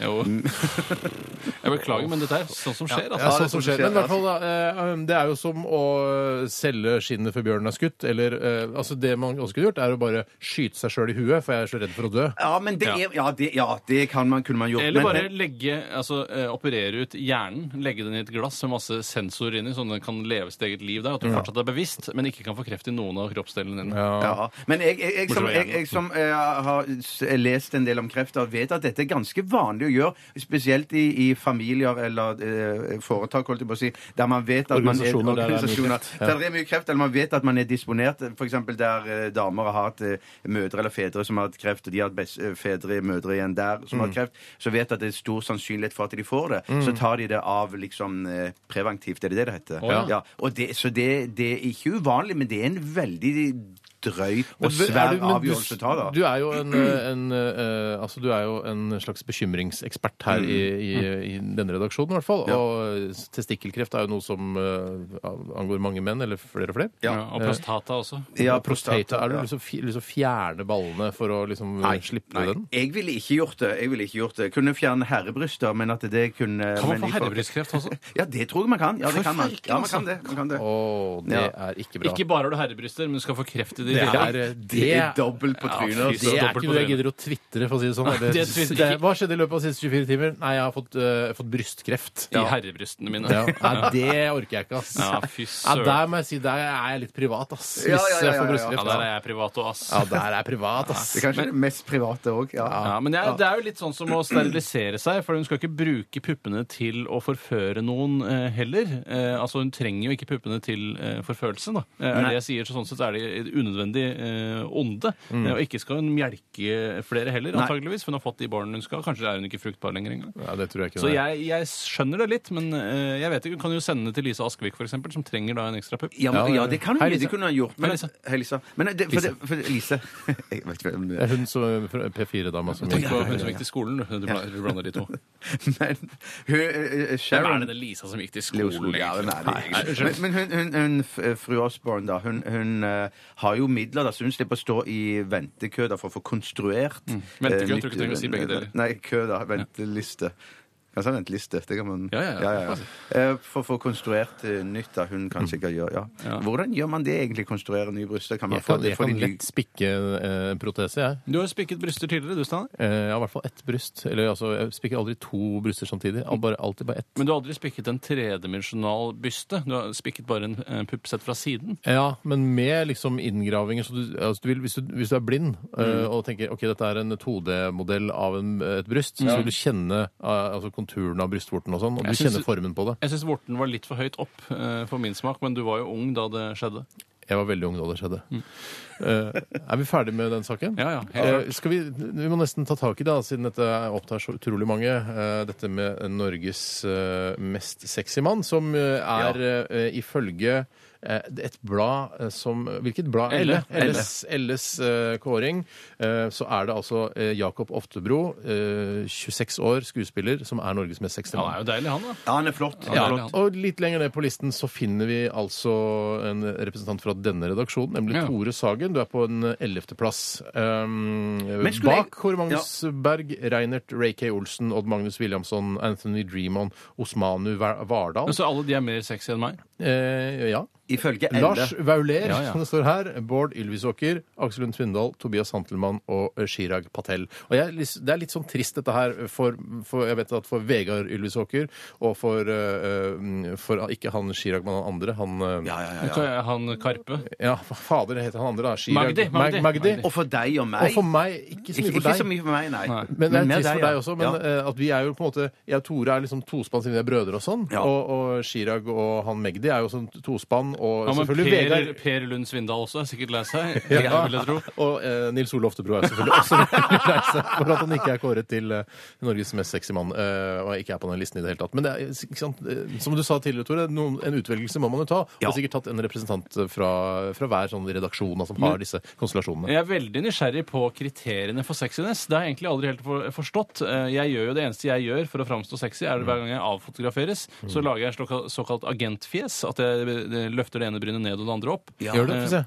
Jo. Jeg beklager, men dette er sånn som skjer. Ja, Altså. sånn som skjer. Men i hvert fall, da, eh, um, det er jo som å eh, selge skinnet før bjørnen er skutt. Eller eh, altså det man også kunne gjort, er å bare skyte seg sjøl i huet, for jeg er så redd for å dø. Ja, men det er, ja, det, ja, det kan man, kunne man gjort. Eller men- bare legge, altså, eh, operere ut hjernen, legge den i et glass med masse sensorer inni, sånn at den kan leve sitt eget liv der. At du fortsatt er bevisst, men ikke kan få kreft i noen av kroppsdelene dine. Ja. Men jeg, jeg, jeg som, Bortsett fra jeg, jeg som eh, har s- lest en del om kreft, og vet at dette er ganske vanlig å gjøre. Spesielt i, i familier eller eh, foretak, holdt jeg på å si, der man vet at man er Organisasjoner der det er mye kreft. Ja. der det er mye kreft, eller man vet at man er disponert. F.eks. der eh, damer har hatt eh, mødre eller fedre som har hatt kreft, og de har hatt best, eh, fedre mødre igjen der Mm. som har hatt kreft, så vet at det er stor sannsynlighet for at de får det. Så tar de det av liksom eh, preventivt, er det det det heter? ja. Ja, og det, så det, det er ikke uvanlig, men det er en veldig drøy og Men er svær du- men du- avgjørelse å ta, da. Du er jo en, eh, en, eh, altså, du er jo en slags bekymringsekspert her i, i, Mm. i denne redaksjonen, i hvert fall. Og testikkelkreft er jo noe som eh, angår mange menn, eller flere og flere. Ja. Ja, og prostata også. Ja, Og prostata. Er du ja. lyst til å fj- lyst til å liksom fjerne ballene for å liksom eh, slippe nei. den? Jeg ville ikke gjort det. Jeg ville ikke gjort det. Jeg kunne fjerne herrebryster, men at det kunne Kan man men få ikke- herrebrystkreft også? Ja, det tror jeg man kan. Ja, det kan man. Forferdelig, Ja, man kan det. Man kan det. Å, det Ja. er ikke bra. Ikke bare har du herrebryster, men du skal få kreft i de det lille. er, eh, Det det er dobbelt på Ja, trynet. fy altså. Det er dobbelt ikke på noe jeg trynet. gidder å twitre, for å si det sånn. Nei, Det, det twitrer det, ikke. hva skjedde i løpet av de siste 24 timer? Nei, jeg har fått, eh, fått brystkreft. I herrebrystene mine. Ja. Nei, det orker jeg ikke, ass. Ja, fy Ja, søren. der må jeg si, der er jeg litt privat, ass. Hvis Ja, ja, ja, jeg får ja, ja. Ja, brystkreft. Ja, der er jeg privat og ass. ja, der er jeg privat, ass. Det er kanskje det mest private òg. Ja. Ja, men det er, det er jo litt sånn som å sterilisere seg, for hun skal ikke bruke puppene til å forføre noen eh, heller. Eh, altså Hun trenger jo ikke puppene til eh, forførelse, da. Eh, er det jeg sier, så Sånn sett er de et unødvendig eh, onde. Eh, og ikke skal hun mjelke flere heller, antageligvis, for hun har fått de barna hun skal. Kanskje er hun ikke fruktbar lenger engang. Ja, det tror jeg ikke. Så det er. jeg, jeg skjønner det litt, men eh, jeg vet ikke, hun kan jo sende det til Lise Askvik, for eksempel, som trenger da en ekstra pupp. Ja, men, Ja, ja, det kan Hei, hun Lise. det kunne hun gjort. Men, Hei, Lise. Hei, Lise. Men det, for, det, for Lise Jeg vet ikke hvem Det det er. er hun som fra P4-dama som Tenk på hun som gikk til skolen, du. Du blander, du blander de to. Men hun, eh, eh, Hvem er Sharon det den Lisa som gikk til Leo skolen? Solberg, ja, egentlig? den er det Nei, egentlig. unnskyld. Men, men hun, hun, hun f- fru Osborne, da, hun, hun eh, har jo midler, da, så hun slipper å stå i ventekø da, for å få konstruert Mm. Ventekø, jeg eh, tror nytt- ikke du trenger å si begge deler. Nei, kø, da. Venteliste. Kan si venteliste. Det kan man Ja, ja, ja. Eh, For å få konstruert eh, nytt, da. Hun kan sikkert gjøre ja. Hvordan gjør man det egentlig? Konstruere nye bryster? Kan man Jeg få kan, det jeg for kan de ny- lett spikke eh, en protese, jeg. Du har jo spikket bryster tidligere, du, Steinar. Eh, Jeg har i hvert fall ett bryst. Eller altså, jeg spikker aldri to bryster samtidig. Al- Bare, alltid bare ett. Men du har aldri spikket en tredimensjonal byste. Du har spikket bare en, en pupp sett fra siden. Ja, men med liksom inngravinger så du, altså du vil, hvis, du, hvis du er blind Mm. eh, og tenker ok, dette er en 2D-modell av en, et bryst, så vil du kjenne eh, altså konturen av brystvorten og sånn, og Jeg du synes- kjenner formen på det. Jeg syns vorten var litt for høyt opp eh, for min smak, men du var jo ung da det skjedde. Jeg var veldig ung da det skjedde. Mm. Eh, er vi ferdig med den saken? Ja, ja, helt Eh, skal vi, vi må nesten ta tak i det, da, siden dette opptar så utrolig mange. eh, dette med Norges eh, mest sexy mann, som eh, er eh, ifølge eh, et blad eh, som Hvilket blad? Elle. Elles, Elles eh, kåring. eh, så er det altså eh, Jakob Oftebro, eh, 26 år, skuespiller, som er Norges mest sexy Han mann. er jo deilig, han, da. Ja, han er flott. Ja, Ja, det er han. og litt lenger ned på listen så finner vi altså en representant fra denne redaksjonen, nemlig Ja. Tore Sagen. Du er på en ellevteplass. Um, skulle jeg- bak Kåre Magnus Berg, Reinert Ray K. Olsen, Odd Magnus Williamson, Anthony Dreamon, Osmanu Var- Vardal. Men så alle de er mer sexy enn meg. Eh, ja. Ifølge Elle Lars Vauler, Ja, ja. som det står her, Bård Ylvisåker, Aksel Lund Svindal, Tobias Santelmann og eh, Chirag Patel. Og jeg, er litt- det er litt sånn trist dette her, for, for jeg vet at for Vegard Ylvisåker, og for, eh, for ikke han Chirag, men han andre, han eh, Ja, ja, ja, ja. Ka- Han Karpe. Ja, hva fader heter han andre, da? Chirag- Magdi, Magdi. Mag- Magdi. Og for deg og meg Og for meg, ikke så Ikke, mye for ikke så deg. mye for meg, nei. Nei. Men det er mer trist for ja. deg også. Men ja. eh, at vi er jo på en måte Jeg og Tore er liksom tospann siden vi er brødre og sånn. Ja. Og, og Chirag og han Magdi er jo sånn tospann. Og Ja, men selvfølgelig per, Vegard. per Lund Svindal også er sikkert lei seg. Ja. vil jeg tro. Og eh, Nils Ole Oftebro er selvfølgelig også veldig lei seg for at han ikke er kåret til eh, Norges mest sexy mann. eh, og ikke er på den listen i det hele tatt. Men det er, ikke sant? eh, som du sa tidligere, Tore, noen, en utvelgelse må man jo ta. Ja. Og sikkert tatt en representant fra, fra hver sånn redaksjon da, som har disse konstellasjonene. Jeg er veldig nysgjerrig på kriteriene for sexiness. Det har jeg egentlig aldri helt for- forstått. Eh, Jeg gjør jo Det eneste jeg gjør for å framstå sexy, er det hver gang jeg avfotograferes, Mm. så lager jeg slåka- såkalt agentfjes. At jeg eh, løfter det ene brynet ned og det andre opp. Ja. Gjør du det? Få se.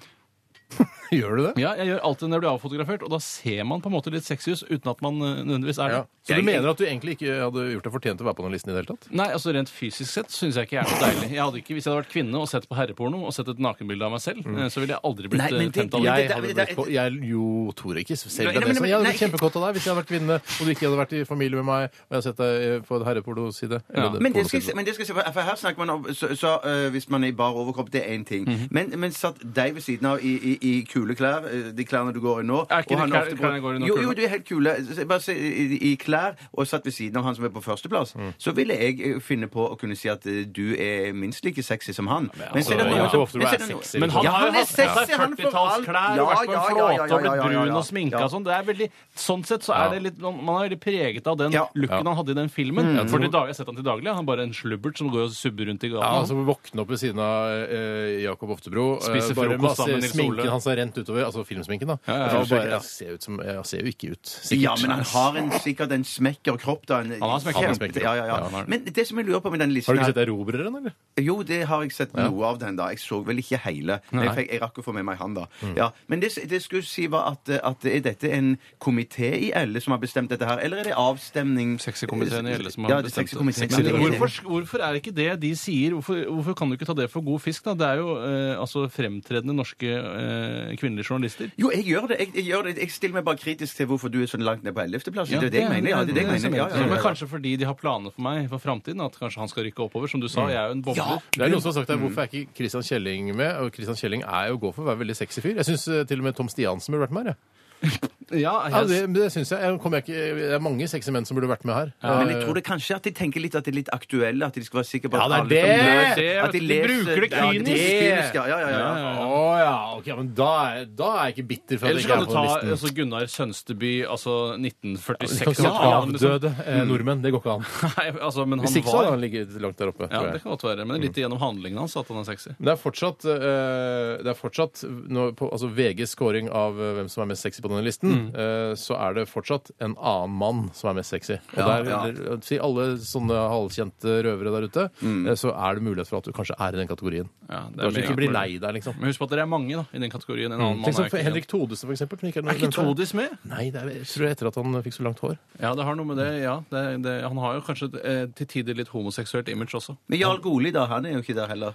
Gjør du det? Ja, jeg gjør alltid når jeg blir avfotografert, og da ser man på en måte litt sexy ut uten at man eh, nødvendigvis er det. Ja. Så du mener at du egentlig ikke hadde gjort deg fortjent til å være på den listen i det hele tatt? Nei, altså Rent fysisk sett syns jeg ikke jeg er noe deilig. Jeg hadde ikke, Hvis jeg hadde vært kvinne og sett på herreporno og sett et nakenbilde av meg selv, Mm. eh, så ville jeg aldri blitt Nei, men eh, det- tent av det. men Jeg det- hadde det- blitt ko- jeg, jo, Tore, ikke selv Nei, deg nei, det. men- Men jeg hadde blitt nei. kjempekåt av deg hvis jeg hadde vært kvinne, og du ikke hadde vært i familie med meg, og jeg hadde sett deg eh, på en herrepornoside. Ja. Eller Men det, skal, pornoside. jeg se- men det skal jeg se, for- for her snakker man om Så, så øh, hvis man er i bar overkropp, det er én ting. Men, men satt deg ved siden av i, i, i kule klær, øh, de klærne du går i nå Er ikke og de han klær- ofte på- klærne jeg går i nå Jo, kule? jo, du er helt kule. Så Bare se i, i klær, og satt ved siden av han som er på førsteplass, så ville jeg øh, finne på å kunne si at øh, du er minst like sexy som han. Men så er det altså, noen ja, som- ofte du men så er er det noen- sexy, Men han Ja, har jo er hatt på sexy, seg han får alt. 40-tallsklær og vært på en Ja, flåte ja, ja, og blitt ja, ja, ja, ja. brun og sminka Ja. og sånn. Det er veldig, sånn sett så Ja. er det litt, man man er veldig preget av den Ja. looken Ja. han hadde i den filmen. For til dag, jeg har sett han til daglig. Han er bare en slubbert som går og subber rundt i Ja, altså gaten. Våkne opp ved siden av eh, Jakob Oftebro. eh, Spise bare frokost sammen med Nils Ole. Sminken hans har rent utover. Altså filmsminken, da. ja, Og filmsminken, bare, ja. jeg, ser ut som, jeg ser jo ikke ut. Sikkert. Ja, men han har en, sikkert en smekker kropp, da. En, Han har smekker. Kjempe- Han har smekker. Ja, ja, Ja, han ja. har det. Men det som jeg lurer på med den listen Har du ikke her- sett Erobreren, eller? Jo, det har jeg sett noe av den, da. Jeg så vel ikke hele. Men jeg, fikk, jeg rakk å få med meg han, da. Ja, men det, det jeg skulle si var at, at er dette en komité i Elle som har bestemt dette her, eller er det avstemning Sexykomiteen i Elle som har ja, bestemt det. bestemt sånn. Men hvorfor, hvorfor er ikke det de sier hvorfor, hvorfor kan du ikke ta det for god fisk, da? Det er jo eh, altså fremtredende norske eh, kvinnelige journalister. Jo, jeg gjør det. Jeg, jeg gjør det. Jeg stiller meg bare kritisk til hvorfor du er så langt ned på ellevteplass. Ja, det er det jeg mener. Ja, det er det jeg mener. Ja, ja, Men ja, ja. kanskje fordi de har planer for meg for framtiden, at kanskje han skal rykke oppover. Som du Mm. sa, jeg er jo en bobler. Det er noen som har sagt Mm. her, Hvorfor er ikke Christian Kjelling med? Og Christian Kjelling er jo god for å være veldig sexy fyr. Jeg syns til og med Tom Stiansen burde vært med her. jeg. Ja, Ja, jeg, det, det synes jeg. Jeg, kommer ikke, det er mange sexy menn som burde vært med her. Men jeg tror det kanskje at de tenker litt at de er litt aktuelle. At de skal være sikre på Ja, at det er alle det! som Det er- leser, at de de leser bruker det Ja, de bruker kynisk. kynisk, ja, ja, ja, ja. Å ja, ok, men da er, da er jeg ikke bitter for at Eller jeg så ikke kan er på du ta listen. altså, Gunnar Sønsteby, altså 1946 Kanskje Ja, han liksom- avdøde eh, nordmenn. Det går ikke an. Nei, altså, men Hvis han ikke så hadde var han ligget langt der oppe. ja, tror jeg. Mm. det kan godt være, men litt gjennom handlingen hans at han er sexy. Men Det er fortsatt, eh, det er fortsatt nå, på, altså VGs scoring av eh, hvem som er mest sexy på denne listen, eh, så er det fortsatt en annen mann som er mest sexy. Og der, ja. eller, Si alle sånne halvkjente røvere der ute, eh, så er det mulighet for at du kanskje er i den kategorien. Ja, det Du er kanskje meget ikke blir mulig. lei deg, liksom. Men husk på at dere er mange da, i den kategorien. En annen Tenk mann er sånn for ikke Henrik Todesen, for eksempel. som ikke er Er noe ikke nevnt her. Todis med? Nei, det er, jeg tror det er etter at han fikk så langt hår. Ja, det har noe med det. ja. Det, det, han har jo kanskje et, eh, til tider litt homoseksuelt image også. Men Jarl Goli, da, han er jo ikke der heller.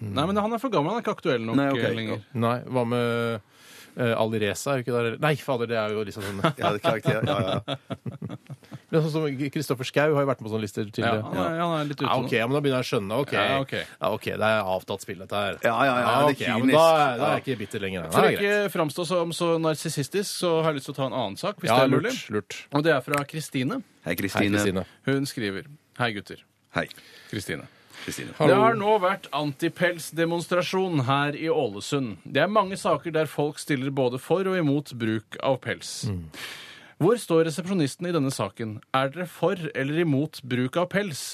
Nei, men han er for gammel. Han er ikke aktuell nok Nei, ok. eh, lenger. Mm. Nei, hva med uh, Ali Reza? Er jo ikke der? Nei, fader, det er jo liksom sånn Ja, det er karakter, ja, ja. Men sånn som Kristoffer Schau har jo vært med på sånne lister Ja, tidligere. han, er, han er litt ute Ja, nå. Ah, ok, ja, men da begynner jeg å skjønne. Ok, Ja, ok. Ja, ok, det er avtatt spill, dette her. Ja, ja, ja, det er ok, men kynisk. da, da er jeg ikke bitter lenger. For Nei, det å er greit. ikke framstå som så narsissistisk, så har jeg lyst til å ta en annen sak, hvis Ja, det er mulig. lurt. lurt. Og det er fra Kristine. Hei, Hei, Kristine. Kristine. Hun skriver Hei, gutter. Hei, Kristine. Kristine. Det har nå vært antipelsdemonstrasjon her i Ålesund. Det er mange saker der folk stiller både for og imot bruk av pels. Hvor står resepsjonisten i denne saken? Er dere for eller imot bruk av pels?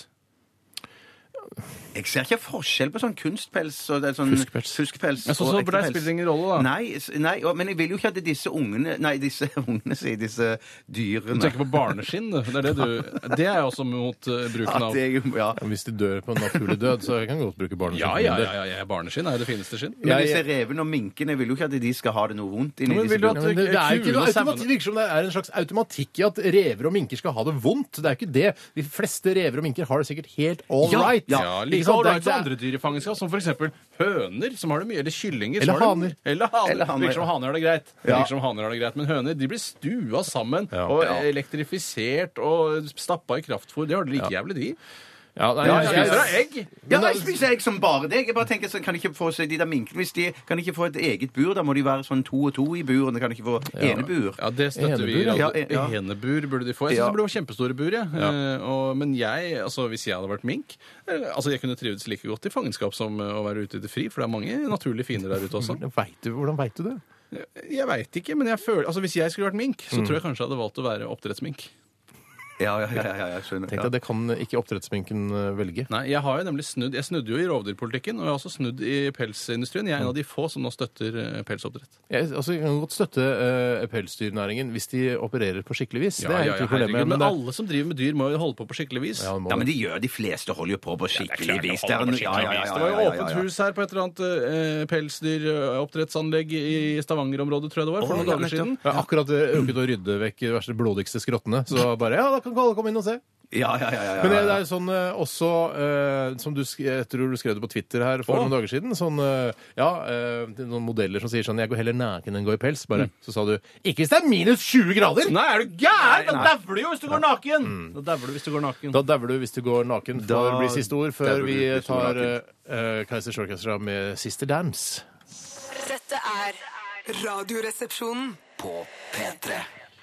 Jeg ser ikke forskjell på sånn kunstpels og det er sånn Fuskpels. fuskpels Ja, så- og så ekte for deg pels. spiller det ingen rolle, da. Nei, s- nei, og- men jeg vil jo ikke at disse ungene Nei, disse ungene, sier disse dyrene Du tenker på barneskinn, du. Det er, det du, det er jeg også mot eh, bruken At av. jeg, Ja, ja. Hvis de dør på en naturlig død, så kan jeg godt bruke barnet. Ja, ja, ja, ja, ja. Barneskinn er jo det fineste skinn. Men Jeg- disse revene og minkene jeg vil jo ikke at de skal ha det noe vondt inni Men disse vil du at- bur- men det, det er jo ikke Kule noe sauene. automatikk, det virker som det er en slags automatikk i at rever og minker skal ha det vondt. Det er jo ikke det. De fleste rever og minker har det sikkert helt all Ja, right. ja, Ja, ikke sant? like så Det er ålreit som ikke- andre dyr i fangenskap, som f.eks. høner, som har det mye, eller kyllinger. Eller som har det- haner. Eller haner. Eller haner. Virker som haner har det greit. Ja. Virker som haner har det greit. Men høner de blir stua sammen Ja. og Ja. elektrifisert og stappa i kraftfôr. De har det like jævlig, de. Ja, nei, De jeg- spiser jeg- av egg. Ja, jeg spiser egg som bare det. Jeg bare tenker sånn, Kan de ikke få seg de der minkene hvis de kan de ikke få et eget bur? Da må de være sånn to og to i bur. og De kan ikke få enebur. Ja, det støtter vi. Enebur, ja. Ja, Ja, ja. Enebur burde de få. Jeg synes Ja. det burde være kjempestore bur, jeg. Eh, og, men jeg, altså, hvis jeg hadde vært mink eh, altså Jeg kunne trivdes like godt i fangenskap som eh, å være ute i det fri, for det er mange naturlige fiender der ute også. Vet du, hvordan veit du det? Jeg veit ikke, men jeg føler, altså, hvis jeg skulle vært mink, så tror jeg kanskje jeg hadde valgt å være oppdrettsmink. Ja, ja, ja, ja, jeg skjønner. Tenk Ja. deg, Det kan ikke oppdrettsminken eh, velge. Nei, Jeg har jo nemlig snudd, jeg snudde jo i rovdyrpolitikken, og jeg har også snudd i pelsindustrien. Jeg er en av de få som nå støtter eh, pelsoppdrett. Jeg, altså, jeg kan godt støtte eh, pelsdyrnæringen hvis de opererer på skikkelig vis. det er ikke noe problem. herregud, men men det- alle som driver med dyr, må jo holde på på skikkelig vis. Ja, det må Ja, det. men de gjør De fleste holder jo på på skikkelig klart de vis. holder på en- skikkelig ja, ja, ja, vis. ja, Det var ja, jo ja, ja. åpent hus her på et eller annet eh, pelsdyroppdrettsanlegg i Stavanger-området, tror jeg det var, for noen ja, dager nettopp. siden. Jeg har akkurat eh, rukket å rydde vekk de verste blodigste skrottene. Så bare ja, da kan alle komme inn og se. Ja, ja, ja, ja, ja. Men det, det er jo sånn eh, også eh, Som du, sk jeg tror du skrev det på Twitter her for Å. noen dager siden. Sånn, eh, ja, eh, det er noen modeller som sier sånn 'Jeg går heller naken enn går i pels'. Mm. Bare. Så sa du 'Ikke hvis det er minus 20 grader'! Nei, Mm. er du gæren?! Da dauer du jo hvis du går naken! Da dauer du hvis du går naken. Da dauer du hvis du går naken. For Da det blir siste ord dauer før du vi hvis du tar går naken. eh, eh, Kaiser Shorkestra med 'Sister Dance'. Dette er Radioresepsjonen. På P3.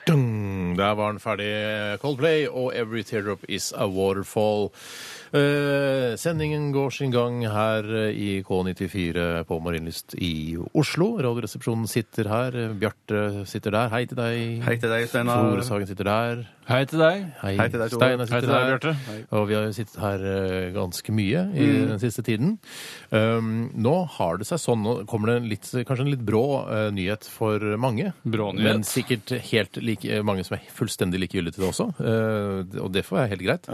Dung! Der var den ferdig. eh, Coldplay og 'Every Teardrop Is A Waterfall'. Eh, sendingen går sin gang her eh, i K94 på Marienlyst i Oslo. Radioresepsjonen sitter her. eh, Bjarte sitter der. Hei til deg. Hei til deg, Steinar. Tore Sagen sitter der. Hei til deg. Hei, Hei til deg, Tore. Steinar sitter Hei til deg, der. Bjarte. Og vi har jo sittet her eh, ganske mye i Mm. den siste tiden. Um, nå har det seg sånn, nå kommer det en litt, kanskje en litt brå eh, nyhet for mange. Brå nyhet. Men sikkert helt like, eh, mange som er fullstendig likegyldige til det også. Eh, det- og det får være helt greit.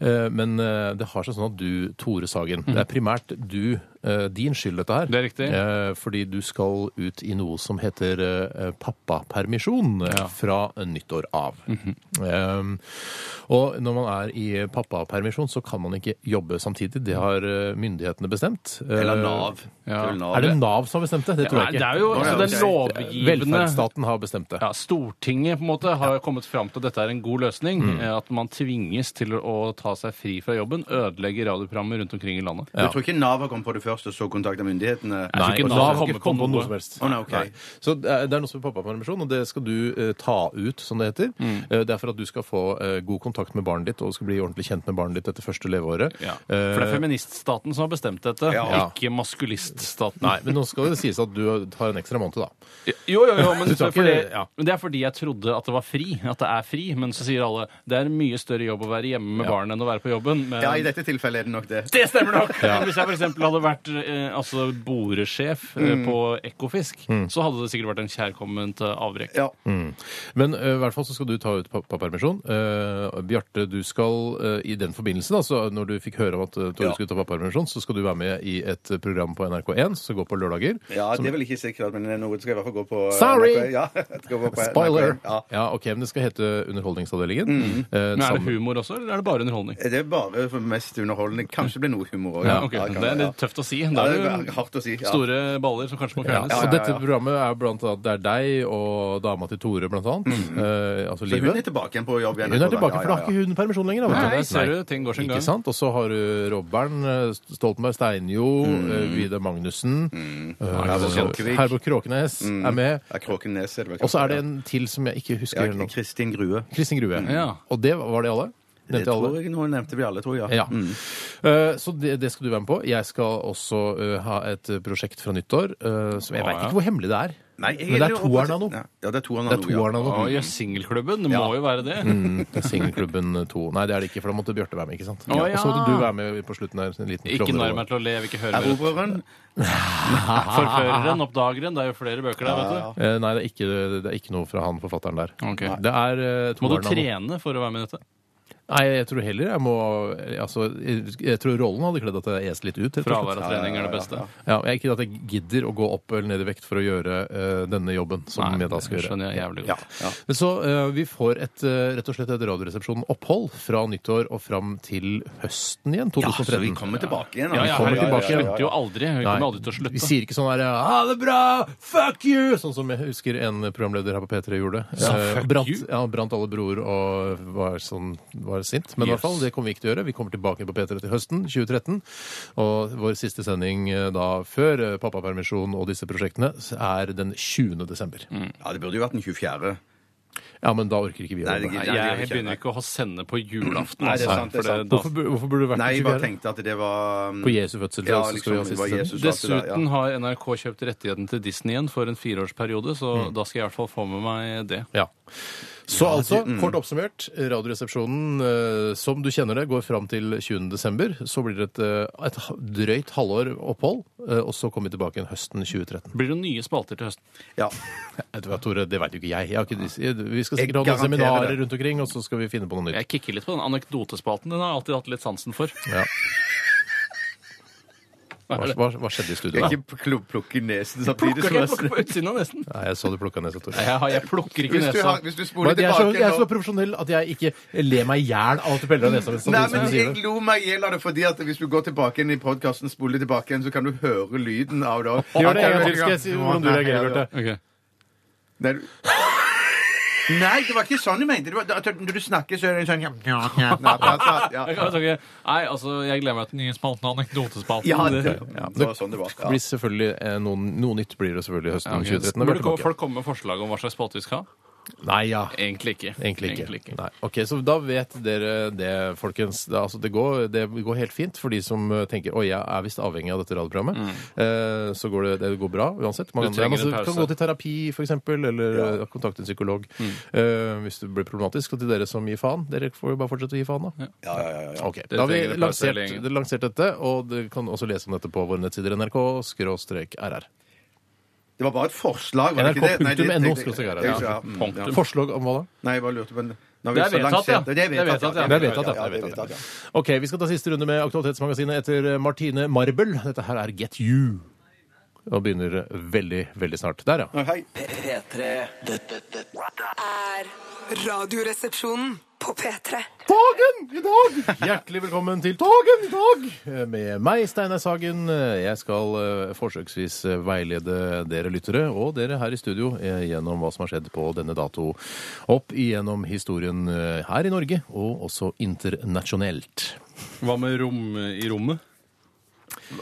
Eh, men eh, det har seg sånn at du, Tore Sagen, det er primært du, eh, din skyld dette her. Mm. Det er riktig. Eh, fordi du skal ut i noe som heter eh, pappapermisjon eh, Ja. Mhm. fra nyttår av. Eh, og når man er i pappapermisjon, så kan man ikke jobbe samtidig. Det har eh, myndighetene bestemt. Eh, Eller Nav. Ja. Tror du Nav Er det Nav som har bestemt det? Det tror Nei, jeg det ikke. er jo altså, den ok. lovgivende Velferdsstaten har bestemt det. ja, Stortinget på en måte har jo kommet fram til at dette er en god løsning. Mm. eh, At man tvinges til å ta seg fri fra jobben, ødelegge radioprogrammer rundt omkring i landet. Du tror ikke Nav har kommet på det først, og så kontakta myndighetene? tror Nei, ikke og Nav Nav kommer har ikke på kommet på noe. noe som helst. Å, nei, ok. Nei. Så det er det er noe som heter pappapermisjon, og det skal du eh, ta ut, som det heter. Mm. Eh, det er for at du skal få eh, god kontakt med barnet ditt, og skal bli ordentlig kjent med barnet ditt etter første leveåret. Eh, For det er feministstaten som har bestemt dette, Ja. ikke maskuliststaten. Nei, men nå skal det sies at du tar en ekstra måned, da. Jo, jo, jo, men Du det, tar er fordi, ikke- ja. men det er fordi jeg trodde at det var fri. At det er fri. Men så sier alle det er en mye større jobb å være hjemme med barn enn å være på jobben. Men Ja, i dette tilfellet er det nok det. det stemmer nok! Hvis jeg f.eks. hadde vært eh, altså, boresjef eh, Mm. på Ekofisk, så hadde det sikkert vært en kjærkomment eh, avbrekk. Ja. Men eh, i hvert fall så skal du ta ut pappapermisjon. Eh, Bjarte, du skal eh, i den forbindelse, da, så når du fikk høre om at eh, Tore Ja. skulle ta pappapermisjon, så skal du være med i et eh, program på NRK1 som går på lørdager. Ja, det er vel ikke sikkert, men noe skal i hvert fall gå på Sorry! NRK. Ja, det skal gå på NRK. Spoiler! Ja. Mm. Ja, ok, men det skal hete Underholdningsavdelingen. Eh, Men er sammen- det humor også, eller er det bare underholdning? Det er bare for mest underholdende. Kanskje det blir noe humor òg. Ja, ok. Det er litt tøft å si. Ja, Det det er er jo hardt å si. Ja. store baller som kanskje må Ja, fjernes. så ja, ja, dette ja. programmet er blant annet det er deg og dama til Tore, blant annet. Eh, altså Mm. Så hun er livet. tilbake igjen på jobb igjen. Hun er tilbake, for da har Ja, ja, ja. ikke hun permisjon lenger. Da, vet Nei, du. ser du, ting går sin gang. Ikke sant? Og så har du Robbern, eh, Stoltenberg Steinjo, eh, Vidar Magnussen Herborg Mm. Kråkevik. Mm. Herborg Kråkenes er med. Ja, Kråkenes er det vel Og så er det kanskje, en til som jeg ikke ja. husker Ja, nå. Kristin Grue. Kristin Grue. Ja. Og det var de alle? Det Nevnte jeg alle? tror jeg Mm. nå nevnte vi alle, tror jeg. Ja. Eh, så det, det skal du være med på. Jeg skal også eh, ha et eh, prosjekt fra nyttår eh, som jeg Ah, veit ja. ikke hvor hemmelig det er. Nei, jeg- Men det er toeren av noe. Ja, det er toeren Det Mm. er av noe. ja. toeren av Å, noe. ja, singelklubben. Det Ja. må jo være det. Det er Singelklubben 2. Nei, det er det ikke, for da måtte Bjarte være med. ikke sant? Å, Og så måtte ja. du være med på slutten der. En liten Ikke klovner- nær meg til å le, jeg vil ikke høre mer. Erobreren. Forføreren, oppdageren. Det er jo flere bøker der, vet du. Eh, Nei, det er, ikke, det er ikke noe fra han forfatteren der. Ok. Det er eh, Må toeren du av noe. trene for å være med i dette? Nei, jeg tror heller jeg må altså, jeg, jeg tror rollen hadde kledd at jeg est litt ut. rett og slett. Fravær av trening er det beste. Ja, jeg, Ikke at jeg gidder å gå opp eller ned i vekt for å gjøre eh, denne jobben. som Nei, jeg da skal det gjøre. skjønner jeg jævlig godt. Ja. Men Så eh, vi får et, eh, rett og slett et Radioresepsjonen-opphold fra nyttår og fram til høsten igjen, 2013. Så vi kommer tilbake igjen. Ja, ja, Vi kommer herregud, tilbake vi igjen. slutter jo aldri. Vi Nei, kommer aldri til å Vi slutte. sier ikke sånn her 'ha det bra, fuck you', sånn som jeg husker en programleder her på P3 gjorde. Eh, fuck brant, you. ja, brant alle broer og var, sånn, var sint. Men i hvert fall, det kommer vi ikke til å gjøre. Vi kommer tilbake på P3 til høsten 2013. Og vår siste sending eh, da før eh, pappapermisjon og disse prosjektene er den 20. desember. Mm. Ja, det burde jo vært den 24. Ja, men da orker ikke vi å Nei, det jobbe. gidder Jeg jeg begynner ikke å ha sende på julaften. Nei, det er altså, sant, det er for sant. da- Hvorfor, bu- hvorfor burde det vært Nei, den jeg bare 24.? tenkte at det var um, På Jesu fødsel? Ja, så skal liksom, vi ha det siste var sending. Jesus alt det der, ja. Dessuten har NRK kjøpt rettigheten til Disney igjen for en fireårsperiode, så da skal jeg i hvert fall få med meg det. Ja. Så altså, mm. kort oppsummert, Radioresepsjonen eh, som du kjenner det, går fram til 20. desember. Så blir det et, eh, et ha- drøyt halvår opphold, eh, og så kommer vi tilbake igjen høsten 2013. Blir det nye spalter til høsten? Ja. Vet du hva, Tore, det veit jo ikke jeg. jeg har ikke, dis- jeg- vi skal Jeg sikkert ha noen garanterer seminarer det. rundt omkring, og så skal vi finne på noe nytt. Jeg kikker litt på den anekdotespalten. Den har jeg alltid hatt litt sansen for. Ja. Hva, hva, hva skjedde i studio? da? Ikke pl- plukke nesen samtidig Plukker, som jeg plukker på utsiden av nesten. Nei, jeg så du plukka nesa, Tore. Nei, Jeg, har- jeg plukker ikke Hvis du, har, nesa. hvis du spoler Men Jeg er, så, tilbake jeg er så nå- profesjonell at jeg ikke ler meg i hjel av at du peller av nesa. mens samtidig Nei, som men du sier jeg det. lo meg i hjel av det, fordi at hvis du går tilbake inn i podkasten, spoler tilbake igjen, så kan du høre lyden av det. Gjør det en gang til, skal jeg si hvordan du reagerer, Bjarte. Ok. Nei, du- Nei, det var ikke sånn jeg mente. Det var, at når du snakker, så er det sånn ja, ja, ja, ja, ja, Jeg kan- jeg kan- Nei, altså, jeg gleder meg til den nye spalten og anekdotespalten. ja, det, Det- ja, det var sånn det var. Det blir selvfølgelig eh, noen, Noe nytt blir det selvfølgelig høsten Ja, ok. 2013. Burde Bjarte ko- Bakke. folk komme med forslag om hva slags spalte vi skal ha? Nei, ja. Egentlig ikke. Egentlig ikke. Nei. Ok, Så da vet dere det, folkens. Det, altså, det, går, det går helt fint for de som eh, tenker Oi, jeg er visst avhengig av dette radioprogrammet. Eh, så går det, det går bra uansett. Man Mm. Du kan- trenger altså, en pause. Mm. kan gå til terapi, f.eks., eller eh, kontakte en psykolog eh, hvis det blir problematisk. Og til dere som gir faen, dere får jo bare fortsette å gi faen, da. Ok, Da har vi trenger en pause lansert, lenge. det- lansert dette, og du kan også lese om dette på våre nettsider nrk-rr. Det var bare et forslag. var det ikke det? Nei, det- NRK.no det- skal vi gjøre. det- ja, mm, ja. Forslag om hva da? Nei, jeg bare lurte på en- Nå har Det er vi så vedtatt, lansert- ja. Det er Det er vedtatt, ja. vedtatt, ja. Ja, det er vedtatt, ja. Ok, Vi skal ta siste runde med Aktualitetsmagasinet etter Martine Marbel. Dette her er Get You. Og begynner veldig, veldig snart. Der, ja. Å, Hei. P3 Dette, dette Er Radioresepsjonen på P3. Dagen i dag! Hjertelig velkommen til Dagen i dag! Med meg, Steinar Sagen. Jeg skal eh, forsøksvis eh, veilede dere lyttere og dere her i studio eh, gjennom hva som har skjedd på denne dato opp igjennom historien eh, her i Norge, og også internasjonelt. Hva med rom i rommet?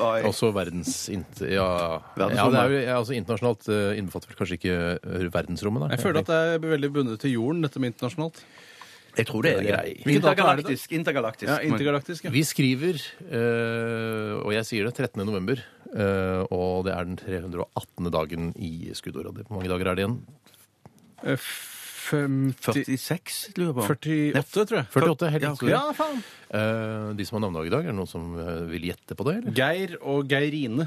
Oi. Også verdens... int- Ja, ja, Verdensrommet. det er jo ja, altså internasjonalt eh, innbefatter vel kanskje ikke eh, verdensrommet, da. Jeg føler at det er veldig bundet til jorden, dette med internasjonalt. Jeg tror det er grei. Hvilken dato er det da? Intergalaktisk. intergalaktisk. Ja, Intergalaktisk, ja. Vi skriver, eh, og jeg sier det, 13. november, eh, og det er den 318. dagen i skuddåret. Hvor mange dager er det igjen? Eh, 50 46, lurer jeg på. 48, tror jeg. 48, helt riktig. Ja, faen. Eh, de som har navnedag i dag, er det noen som eh, vil gjette på det, eller? Geir og Nei, Geirine.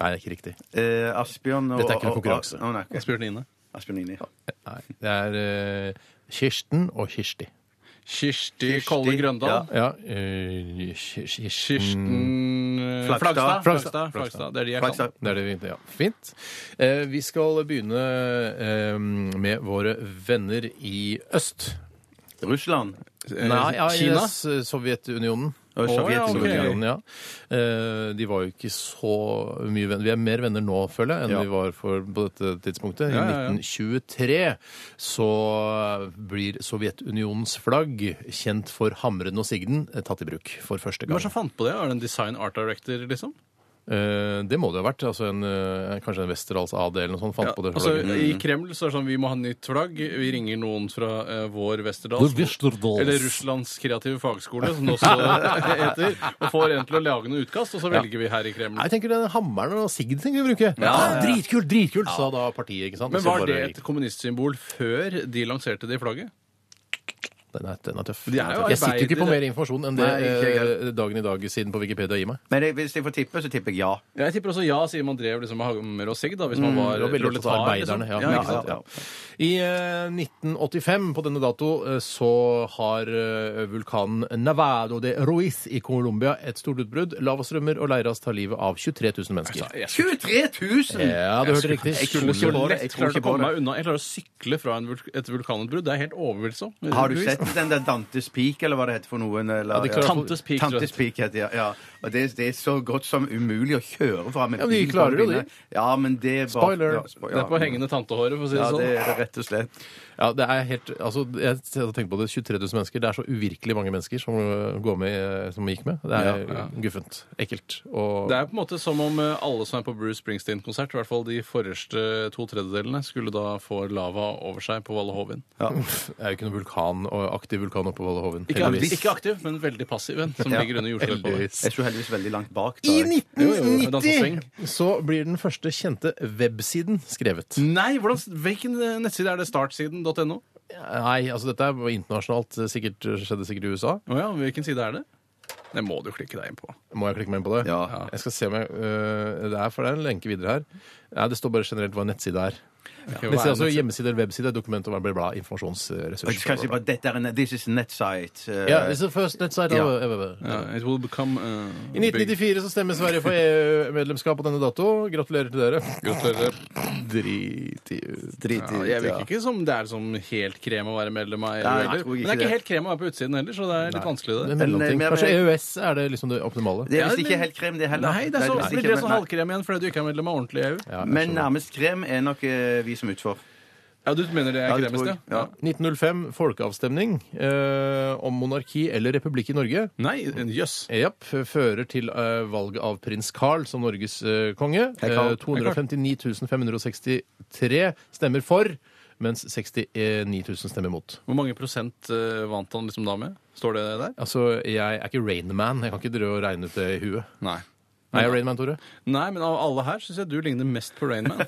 det er ikke riktig. Eh, Asbjørn og Dette er ikke en og- og- konkurranse. Å, nei, ok. Asbjørnine. Asbjørn Ine. Nei, det er eh, Kirsten og Kirsti. Kirsti Kolle Grøndal. Ja, eh, Kir- Kirsten... Kirsten eh, Flagstad. Flagstad. Flagstad. Flagstad. Flagstad. Det er de jeg Flagstad. kan. Det er det vi, ja. Fint. Eh, vi skal begynne eh, med våre venner i øst. Russland. Eh, ja, i Kina? S- Sovjetunionen. Og Å, ja, ok. Sovjetunionen. Sovjetunionen, ja. Eh, De var jo ikke så mye venner. Vi er mer venner nå, føler jeg, enn Ja. vi var for, på dette tidspunktet. Ja, ja, ja. I 1923 så blir Sovjetunionens flagg kjent for hamren og sigden eh, tatt i bruk for første Hvem gang. var det som fant på det? Var det en design art director, liksom? Eh, Det må det ha vært. Altså en, eh, kanskje en Westerdals AD eller noe sånt fant Ja, på det altså, flagget. I Kreml så er det sånn vi må ha nytt flagg. Vi ringer noen fra eh, vår Westerdals. The Westerdals. Eller Russlands kreative fagskole, som det også heter. Og får en til å lage noe utkast, og så velger vi her i Kreml. Nei, jeg tenker den hammeren og sigden tenker vi bruker. Ja, Dritkult, dritkult, sa da partiet. ikke sant? Og Men så var det bare- et kommunistsymbol før de lanserte det i flagget? Den er, den er tøff. De er jo jeg sitter jo ikke på arbeidere. mer informasjon enn det Nei, ikke jeg. eh, dagen i dag-siden på Wikipedia gir meg. Men jeg, hvis jeg får tippe, så tipper jeg ja. Jeg tipper også ja, siden man drev liksom med hammer og sigg, da, hvis man var det var veldig opptatt av proletar, arbeiderne, ja. Liksom. Ja, ikke sant? ja, I eh, 1985, på denne dato, eh, så har eh, vulkanen Nevado de Ruiz i Colombia et stort utbrudd. Lavastrømmer og leirras tar livet av 23 000 mennesker. Altså, Jeg 23 000! Ja, du hørte riktig. jeg skulle så på det, jeg lett tror klart ikke å på komme det. meg unna. Jeg klarer å sykle fra en vulk et vulkanutbrudd. Det er jeg helt overbevist om. Har du sett den der Dantes Peak, eller hva det heter for noen? Eller, de klarer- Tantes Peak, tror jeg. Tantes Peak heter det, ja. ja. Og det, det er så godt som umulig å kjøre fra med Ja, men de bil klarer på jo bilene. det. Ja, men det var, Spoiler. Ja, spo- Det er på ja. hengende tantehåret, for å si det Ja, det sånn. er det rett og slett. Ja, det er helt, altså, jeg tenker på det, 23 000 mennesker, det er så uvirkelig mange mennesker som, øh, går med, øh, som gikk med. Det er Ja, ja. guffent, ekkelt. Og, Det er på en måte som om eh, alle som er på Bruce Springsteen-konsert, i hvert fall de forreste to tredjedelene, skulle da få lava over seg på Valle Hovin. det er jo ikke noen vulkan, og aktiv vulkan oppe på Vallehoven. Ikke, aktiv- ikke aktiv, men veldig passiv en, som ligger under jordskjelvet. Heldigvis. Jeg sto heldigvis veldig langt bak. da. I Jo, jo, jo, dansa swing. 1990 så blir den første kjente websiden skrevet. Nei, hvordan, hvilken eh, nettside er det? Startsiden.no? Nei, altså dette er internasjonalt, øh, sikkert, skjedde sikkert i USA. Å ja, hvilken side er det? Det må du klikke deg inn på. Må jeg klikke meg inn på det? Ja. Jeg skal se om jeg, øh, det er, for det er en lenke videre her. Nei, det står bare generelt hva en nettside er. Det sier Okay, hva er altså nettsiden? hjemmeside, webside, dokument og bla, bla, bla, Og jeg skal informasjonsressurser. si bare, dette er en, This is netsite. eh, Ja, it's the first net site Ja. ever- ever. ja, it will become uh, I 1994 så stemmer Sverige for EU-medlemskap på denne dato. Gratulerer til dere. Gratulerer. Drit i drit Ja, i det, jeg ja. virker ikke som det er som helt krem å være medlem av EU. Nei, jeg heller. tror Men ikke det er det. ikke helt krem å være på utsiden heller, så det er litt vanskelig det. Det er mellomting. Men- men- Kanskje EØS er det liksom det optimale. Det er visst Ja, ikke det- helt krem, det heller. Nei, det er så, visst blir ikke- det sånn nei. halvkrem igjen fordi du ikke er medlem av ordentlig EU. Ja, jeg Men skjønner. nærmest krem er nok eh, vi som utfor. Ja, du mener det er Ja, det tror kremest, jeg. ja? ja. 1905 folkeavstemning eh, om monarki eller republikk i Norge. Nei, en jøss. Japp, fører til eh, valget av prins Carl som Norges eh, konge. Hei, Carl. Eh, 259 563 stemmer for, mens 69 000 stemmer mot. Hvor mange prosent eh, vant han liksom da med? Står det der? Altså, jeg er ikke Rainman. Jeg kan ikke drive og regne ut det i huet. Nei. Er jeg Rainman, Tore? Nei, men av alle her syns jeg du ligner mest på Rainman.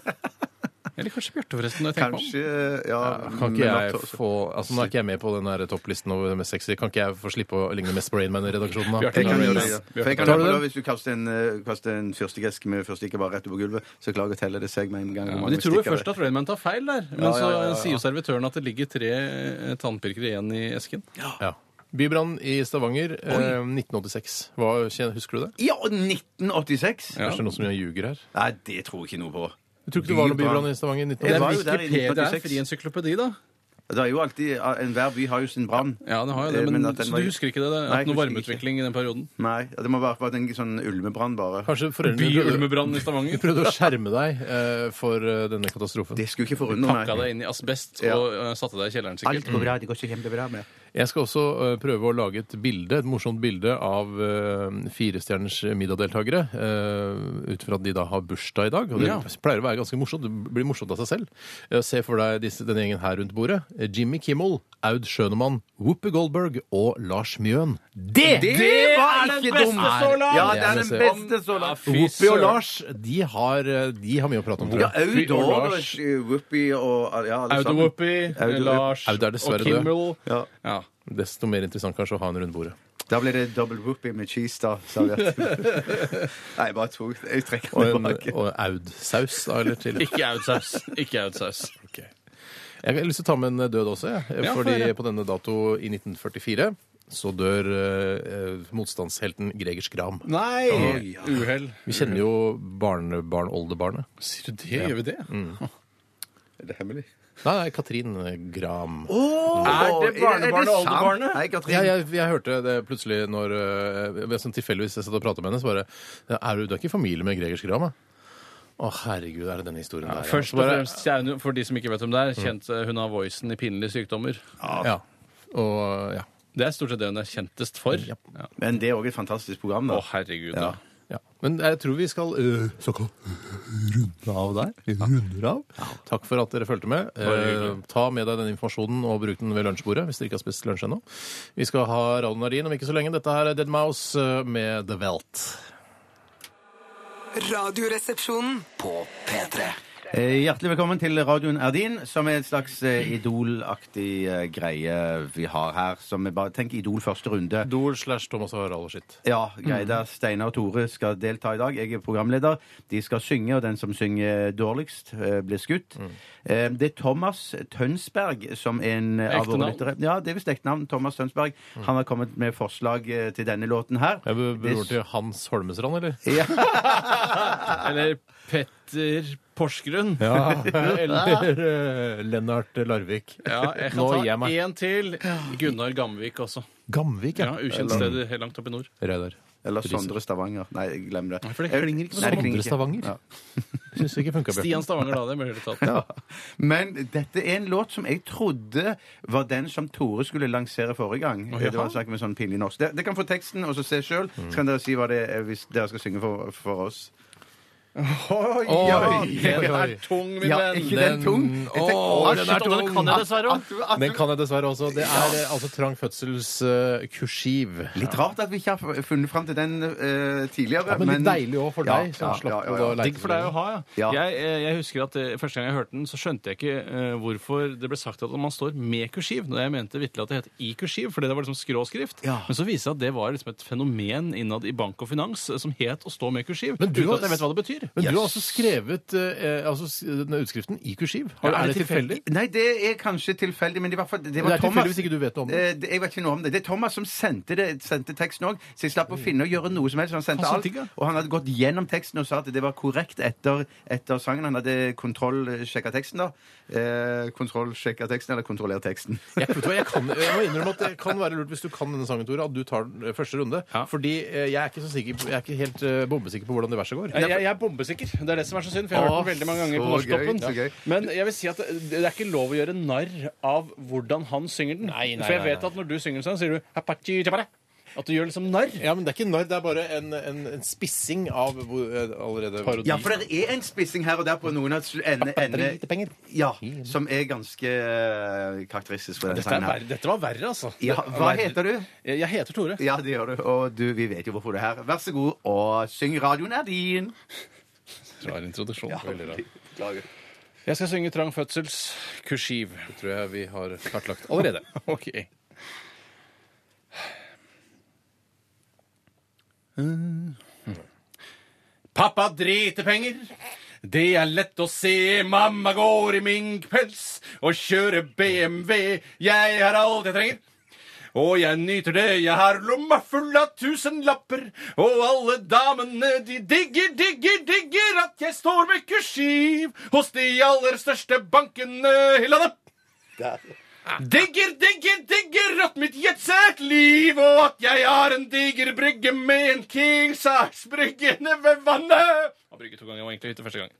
Eller kanskje Bjarte, forresten. når jeg tenker meg om. Kanskje ja, Kan men ikke jeg at- få Altså, Nå er ikke jeg med på den her topplisten over det mest sexy. Kan ikke jeg få slippe å ligne mest på Rainman i redaksjonen, da? Bjarte, Jeg kan Kan du gjøre gjøre det. det? For jeg kan Tar gjøre du det. den? Hvis du kaster en, eh, kaster en fyrstikkeske med fyrstikker bare rett opp på gulvet, så klager teller det seg med en gang. hvor Men mange De tror jo stikker først det. at Rainman tar feil der, men Ja, ja, ja, ja. så sier jo servitøren at det ligger tre eh, tannpirkere igjen i esken. Ja. Bybrann i Stavanger eh, 1986. Hva, kjen- husker du det? Ja, og 1986! Ja. Kanskje det er noe som jeg ljuger her? Nei, det tror jeg ikke noe på. Jeg tror ikke det var noe Bybrann i Stavanger i Det Det er var 1986. jo der i Wikipedia det er en 1986. fri encyklopedi, da. Det er jo alltid, Enhver by har jo sin brann. Ja, det har jo Eh, det, men, at den Så var- du husker ikke det? det Nei, at jeg noe husker varmeutvikling i den perioden? ikke. Nei, det må være vært en sånn ulmebrann, bare. Kanskje foreldrene prøvde, Byulmebrannen i Stavanger. prøvde å skjerme deg eh, for eh, denne katastrofen. Det skulle ikke forundre Pakka meg. deg inn i asbest Ja. og eh, satte deg i kjelleren, sikkert. går bra. Det går så kjempebra med Jeg skal også eh, prøve å lage et bilde, et morsomt bilde av eh, Firestjerners middag-deltakere. eh, ut fra at de da har bursdag i dag. Og det Ja. pleier å være ganske morsomt. Det blir morsomt av seg selv. Eh, se for deg disse, denne gjengen her rundt bordet. Eh, Jimmy Kimmel, Aud Schønemann, Whoopi Goldberg og Lars Mjøen. Det! Det var ikke dumt! Ja, det er den Det er beste så langt. Fy Whoopi og søren. Lars de har, eh, de har mye å prate om. tror Ja, jeg. Aud Fy- og og Lars. eh, Whoopi og ja, alle sammen. Autowhoopy, Auto- Lars Auto er og dessverre Kimmel. Ja. Ja. Desto mer interessant kanskje å ha henne rundt bordet. Da ble det double whoopie med cheese, da. Servert. Nei, jeg bare tok Jeg trekker Og, den en- tilbake. og Aud-saus, da, eller til Ikke Audsaus. Ikke Audsaus. Jeg har lyst til å ta med en eh, død også, jeg. Ja, få fordi høre. på denne dato i 1944 så dør eh, eh, motstandshelten Greger Skram. Nei! Uhell. Vi kjenner jo barnebarn-oldebarnet. Sier du det? Gjør vi det? Er det hemmelig? Mm. Nei, nei, Katrin eh, Gram. Er det barnebarnet og oldebarnet? Nei, Katrin. Ja, jeg, jeg hørte det plutselig når eh, jeg- sånn Tilfeldigvis jeg satt og pratet med henne, så bare Er du, du er ikke i familie med Greger Skram, da? Å, herregud, er det denne historien der? ja? Først Så og bare- fremst, så er hun jo- for de som ikke vet hvem det er, kjent, eh, hun har voicen i pinlige sykdommer. Ja. Og eh, ja. Det er stort sett det hun er kjentest for. Ja. Å, Men det er òg et fantastisk program, da. herregud, Ja. da. Ja. Men jeg tror vi skal eh, såkalt runde av der. Vi runder av. Takk for at dere fulgte med. Eh, ta med deg den informasjonen og bruk den ved lunsjbordet hvis dere ikke har spist lunsj ennå. Vi skal ha Radio Nardin om ikke så lenge. Dette her er Dead Mouse eh, med The Welt. Radioresepsjonen. På P3. Eh, Hjertelig velkommen til Radioen er din, som er en slags eh, idolaktig eh, greie vi har her. Som er bare, tenk Idol første runde. Idol slash Thomas og Harald og sitt. Ja, greit. Der Steinar og Tore skal delta i dag. Jeg er programleder. De skal synge, og den som synger dårligst, eh, blir skutt. Eh, Det er Thomas Tønsberg som er en av Ekte våre navn? lyttere Ja, det er visst ekte navn. Thomas Tønsberg. Han har kommet med forslag eh, til denne låten her. Jeg er Det- Broren til Hans Holmestrand, eller? Eller Petter Porsgrunn. Eller eh, Lennart Larvik. Ja, jeg Nå kan gir jeg ta meg. én til. Gunnar Gamvik også. Gamvik, Ja, Ukjent sted helt langt oppe i nord. Reidar. Eller Sondre Stavanger. Nei, glem det. for det klinger ikke på Nei, det Sondre klinger ikke. Stavanger. Ja. Syns ikke funka, Bjørn. Stian Stavanger la det med i hele tatt. Ja. Men dette er en låt som jeg trodde var den som Tore skulle lansere forrige gang. Å, jaha. det var snakk med sånn pinlig norsk. Dere dere kan få teksten og så se sjøl, Mm. så kan dere si hva det er hvis dere skal synge for, for oss. Oi, den er tung, min Ja, venn. ikke den tung. Jeg Åh, tenker- den er Shit, og tung. At Den kan jeg dessverre også. Det er eh, altså trang fødsels eh, kursiv. Litt rart at vi ikke har funnet fram til den eh, tidligere. Ja, men litt deilig òg for Ja, deg, som ja, slapp ja, ja, å ja. gå og leite Digg for deg å ha, ja. Ja. Jeg, eh, jeg husker at eh, Første gang jeg hørte den, så skjønte jeg ikke eh, hvorfor det ble sagt at man står med kursiv. Når jeg mente virkelig at det het i kursiv, fordi det var liksom skråskrift. Ja. Men så viste det seg at det var liksom et fenomen innad i bank og finans eh, som het å stå med kursiv. Men du uten har- at jeg vet hva det betyr. Men du har også skrevet eh, altså, s- denne utskriften i kursiv. Har, Ja, er det tilfeldig? Nei, det er kanskje tilfeldig, men det, var, for- det Det var er Thomas. tilfeldig hvis ikke du vet noe om det. Eh, det. Jeg vet ikke noe om det. Det er Thomas som sendte, det, sendte teksten òg, så jeg slapp å finne og gjøre noe som helst. Han sendte Mm. Han alt, sendte ikke? og han hadde gått gjennom teksten og sa at det var korrekt etter, etter sangen. Han hadde kontrollsjekka teksten, da. Eh, kontrollsjekka teksten, eller kontrollert teksten. Jeg, vet du hva, jeg, kan, jeg må innrømme at det kan være lurt hvis du kan denne sangen, Tore, at du tar den eh, første runde. Ja. Fordi eh, jeg er ikke så sikker Jeg er ikke helt eh, bombesikker på hvordan det verset går. Jeg, jeg, jeg er bombesikker. Det er det som er så synd. For jeg har Å, hørt den veldig mange ganger så på Norsktoppen. gøy, så gøy. Men jeg vil si at det, det er ikke lov å gjøre narr av hvordan han synger den. Nei, nei, for jeg nei, vet at når du synger den sånn, sier du «Hapachi tabare», At du gjør liksom narr. Ja, men Det er ikke narr, det er bare en, en, en spissing av hvor, eh, allerede Parodi. Ja, for det er en spissing her og der på noen av sl- ende, ende Dritepenger. Ja, som er ganske eh, karakteristisk for denne Dette, er sangen. her. verre, dette var verre, altså. Ja, hva heter du? Jeg, jeg heter Tore. Ja, det gjør du. Og du, vi vet jo hvorfor du er her. Vær så god, og syng radioen er din. Rar introduksjon. veldig rar. Beklager. Jeg skal synge Trang fødsels kursiv. Det tror jeg vi har kartlagt allerede. OK. Pappa driter penger. Det er lett å se. Mamma går i minkpels og kjører BMW. Jeg har alt jeg trenger. Og jeg nyter det, jeg har lomma full av tusenlapper. Og alle damene, de digger, digger, digger at jeg står med kursiv hos de aller største bankene i landet. Digger, digger, digger at mitt jetset liv, og at jeg har en diger brygge med en King Size-brygge ned ved vannet. Han brygget to ganger, var egentlig ute første gang.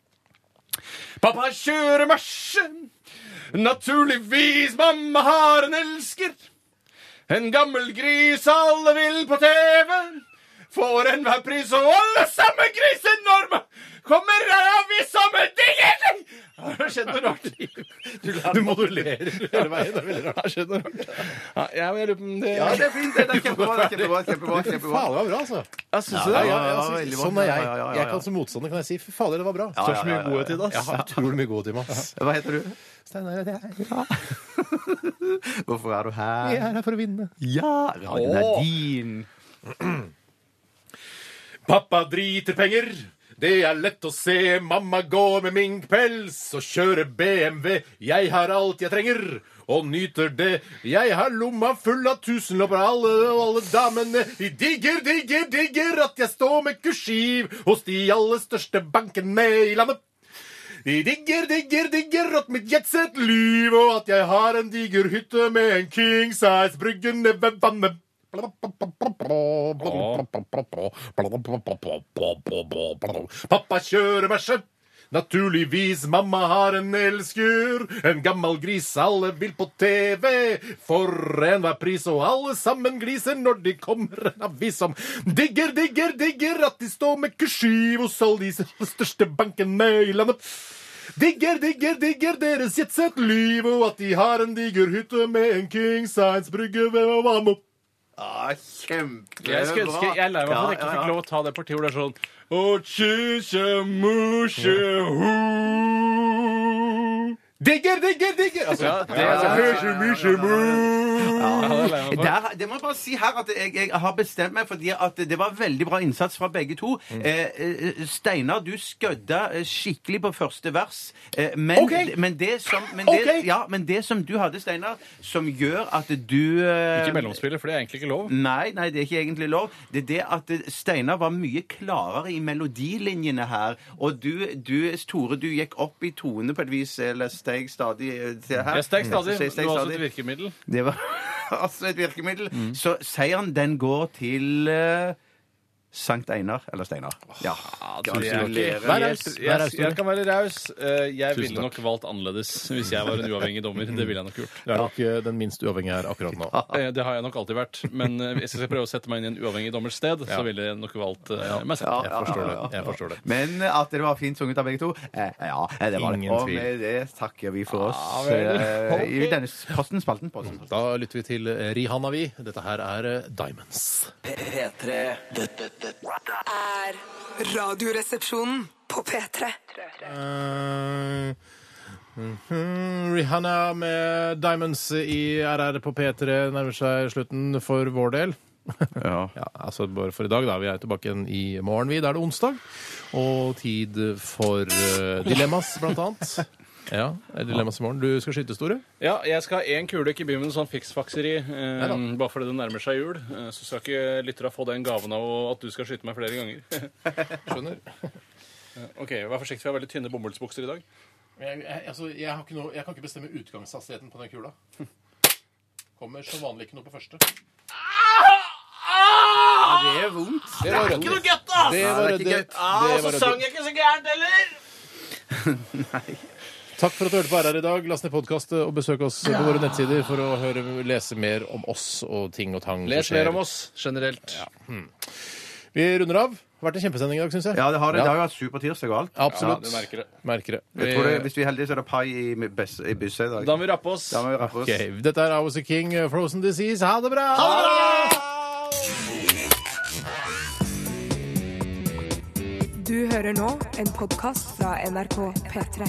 Pappa kjører marsje. Naturligvis, mamma har en elsker. En gammel gris alle vil på TV. Får enhver pris, og alle sammen grisenorme kommer her av i samme digger! Har det skjedd noe rart? Du, du modulerer hele veien. Det er veldig rart. Har det skjedd noe rart? Ja, jeg, jeg lurer på om det Ja, det er fint. Det er kjempebra. det er kjempebra, kjempebra, Faen, det kjempebra. var bra, altså. Jeg synes Ja, det. ja, ja, ja, ja, altså, veldig bra. sånn er jeg. Ja, ja, ja, ja. Jeg kan Som motstander kan jeg si fy fader, det var bra. ja, ja, ja, ja. Ja, utrolig mye godhet i meg. ass. Hva heter du? Steinar, det er- Hvorfor er du jeg her? er her for å vinne. Ja, radioen er Åh. din. Pappa driter penger. Det er lett å se. Mamma går med minkpels og kjører BMW. Jeg har alt jeg trenger og nyter det. Jeg har lomma full av tusenlopper, alle og alle damene. De digger, digger, digger at jeg står med kursiv hos de aller største bankene i landet. De digger, digger, digger at mitt jetset liv, og at jeg har en diger hytte med en king size-brygge ned ved vannet. Pappa kjører merse. Naturligvis, mamma har en elsker. En gammel gris alle vil på TV. For enhver pris, og alle sammen gliser når de kommer. En avis som digger, digger, digger at de står med kursiv hos alle de største bankene i landet. Digger, digger, digger deres jetset liv, og at de har en diger hytte med en King Science-brygge ved vannet. Ah, kjempebra. Jeg skulle ønske jeg er lei meg for at jeg ikke fikk lov å ta det partiet hvor det er sånn «Å, tjusje, musje, ho». Digger, digger, digger! Altså, Ja, det- altså, misje, misje, mu. Der, det må jeg bare si her at jeg, jeg har bestemt meg fordi at det var veldig bra innsats fra begge to. Mm. Eh, eh, Steinar, du skødda eh, skikkelig på første vers. Eh, men, Ok. men, det som, men, det, Ok. ja, men det som du hadde, Steinar, som gjør at du eh, Ikke mellomspillet, for det er egentlig ikke lov. Nei, nei, det er ikke egentlig lov. Det er det at eh, Steinar var mye klarere i melodilinjene her. Og du, du Tore, du gikk opp i tone på et vis, eller steg stadig eh, til her. Jeg er sterk stadig. Så jeg Du steg har også stadig. et virkemiddel. Det var altså et virkemiddel. Så seieren, den går til eh, Sankt Einar, eller Steinar. Ja. Gratulerer. Vær raus. Vær Jeg, raus, Tore. jeg kan være raus. Eh, Jeg Tusen ville nok valgt annerledes hvis jeg var en uavhengig dommer. Det ville jeg nok gjort. Du er nok eh, den minst uavhengige her akkurat nå. Eh, Det har jeg nok alltid vært. Men eh, hvis jeg skal prøve å sette meg inn i en uavhengig dommers sted, så ville jeg nok valgt eh, meg selv. Jeg forstår det. Jeg forstår det. Men at det var fint sunget av begge to, eh, ja, det var det. Ingen Og tvil. med det takker vi for oss Ja, vel. eh, i Ok. denne posten, spalten. Posten. Da lytter vi til eh, Rihanna, vi. Dette her er eh, Diamonds. P3 Dette dette Er radioresepsjonen på P3. Eh, mhm, Rihanna med Diamonds i RR på P3 nærmer seg slutten for vår del. Ja, altså bare for i dag, da. Vi er tilbake igjen i morgen, vi. Da er det onsdag. Og tid for eh, dilemmas, blant annet. Ja, er det dilemmas i morgen. Du skal skyte, Store. Ja, jeg skal ha én kule ikke begynne med noe sånn fiksfakseri. Eh, da. bare fordi det nærmer seg jul. Eh, så skal ikke lytterne få den gaven av å- at du skal skyte meg flere ganger. Skjønner. ok, Vær forsiktig, for jeg har veldig tynne bomullsbukser i dag. Jeg, jeg, altså, jeg, har ikke noe, jeg kan ikke bestemme utgangshastigheten på den kula. Kommer som vanlig ikke noe på første. Det er vondt. Det var rødt. Det var Nei, det er ikke Ah, rødt. Det var rødt. jeg ikke så gærent heller! Takk for at du hørte på RR i dag. Last ned podkast og besøk oss på våre nettsider for å høre, lese mer om oss og ting og tang. som Les skjer. Hmm. mer om oss generelt. Vi runder av. Vært en kjempesending i dag, syns jeg. Ja, det har, det. det har jo vært supertirsdag og alt. Absolutt. Ja, du merker det. Merker det. Jeg tror det, hvis vi er heldige, så er det pai i, bes- i bussa i dag. Da må vi rappe oss. Da må vi rappe oss. Ok, Dette er Owls King, Frozen Disease. Ha det bra! Ha det bra! Du hører nå en podkast fra NRK P3.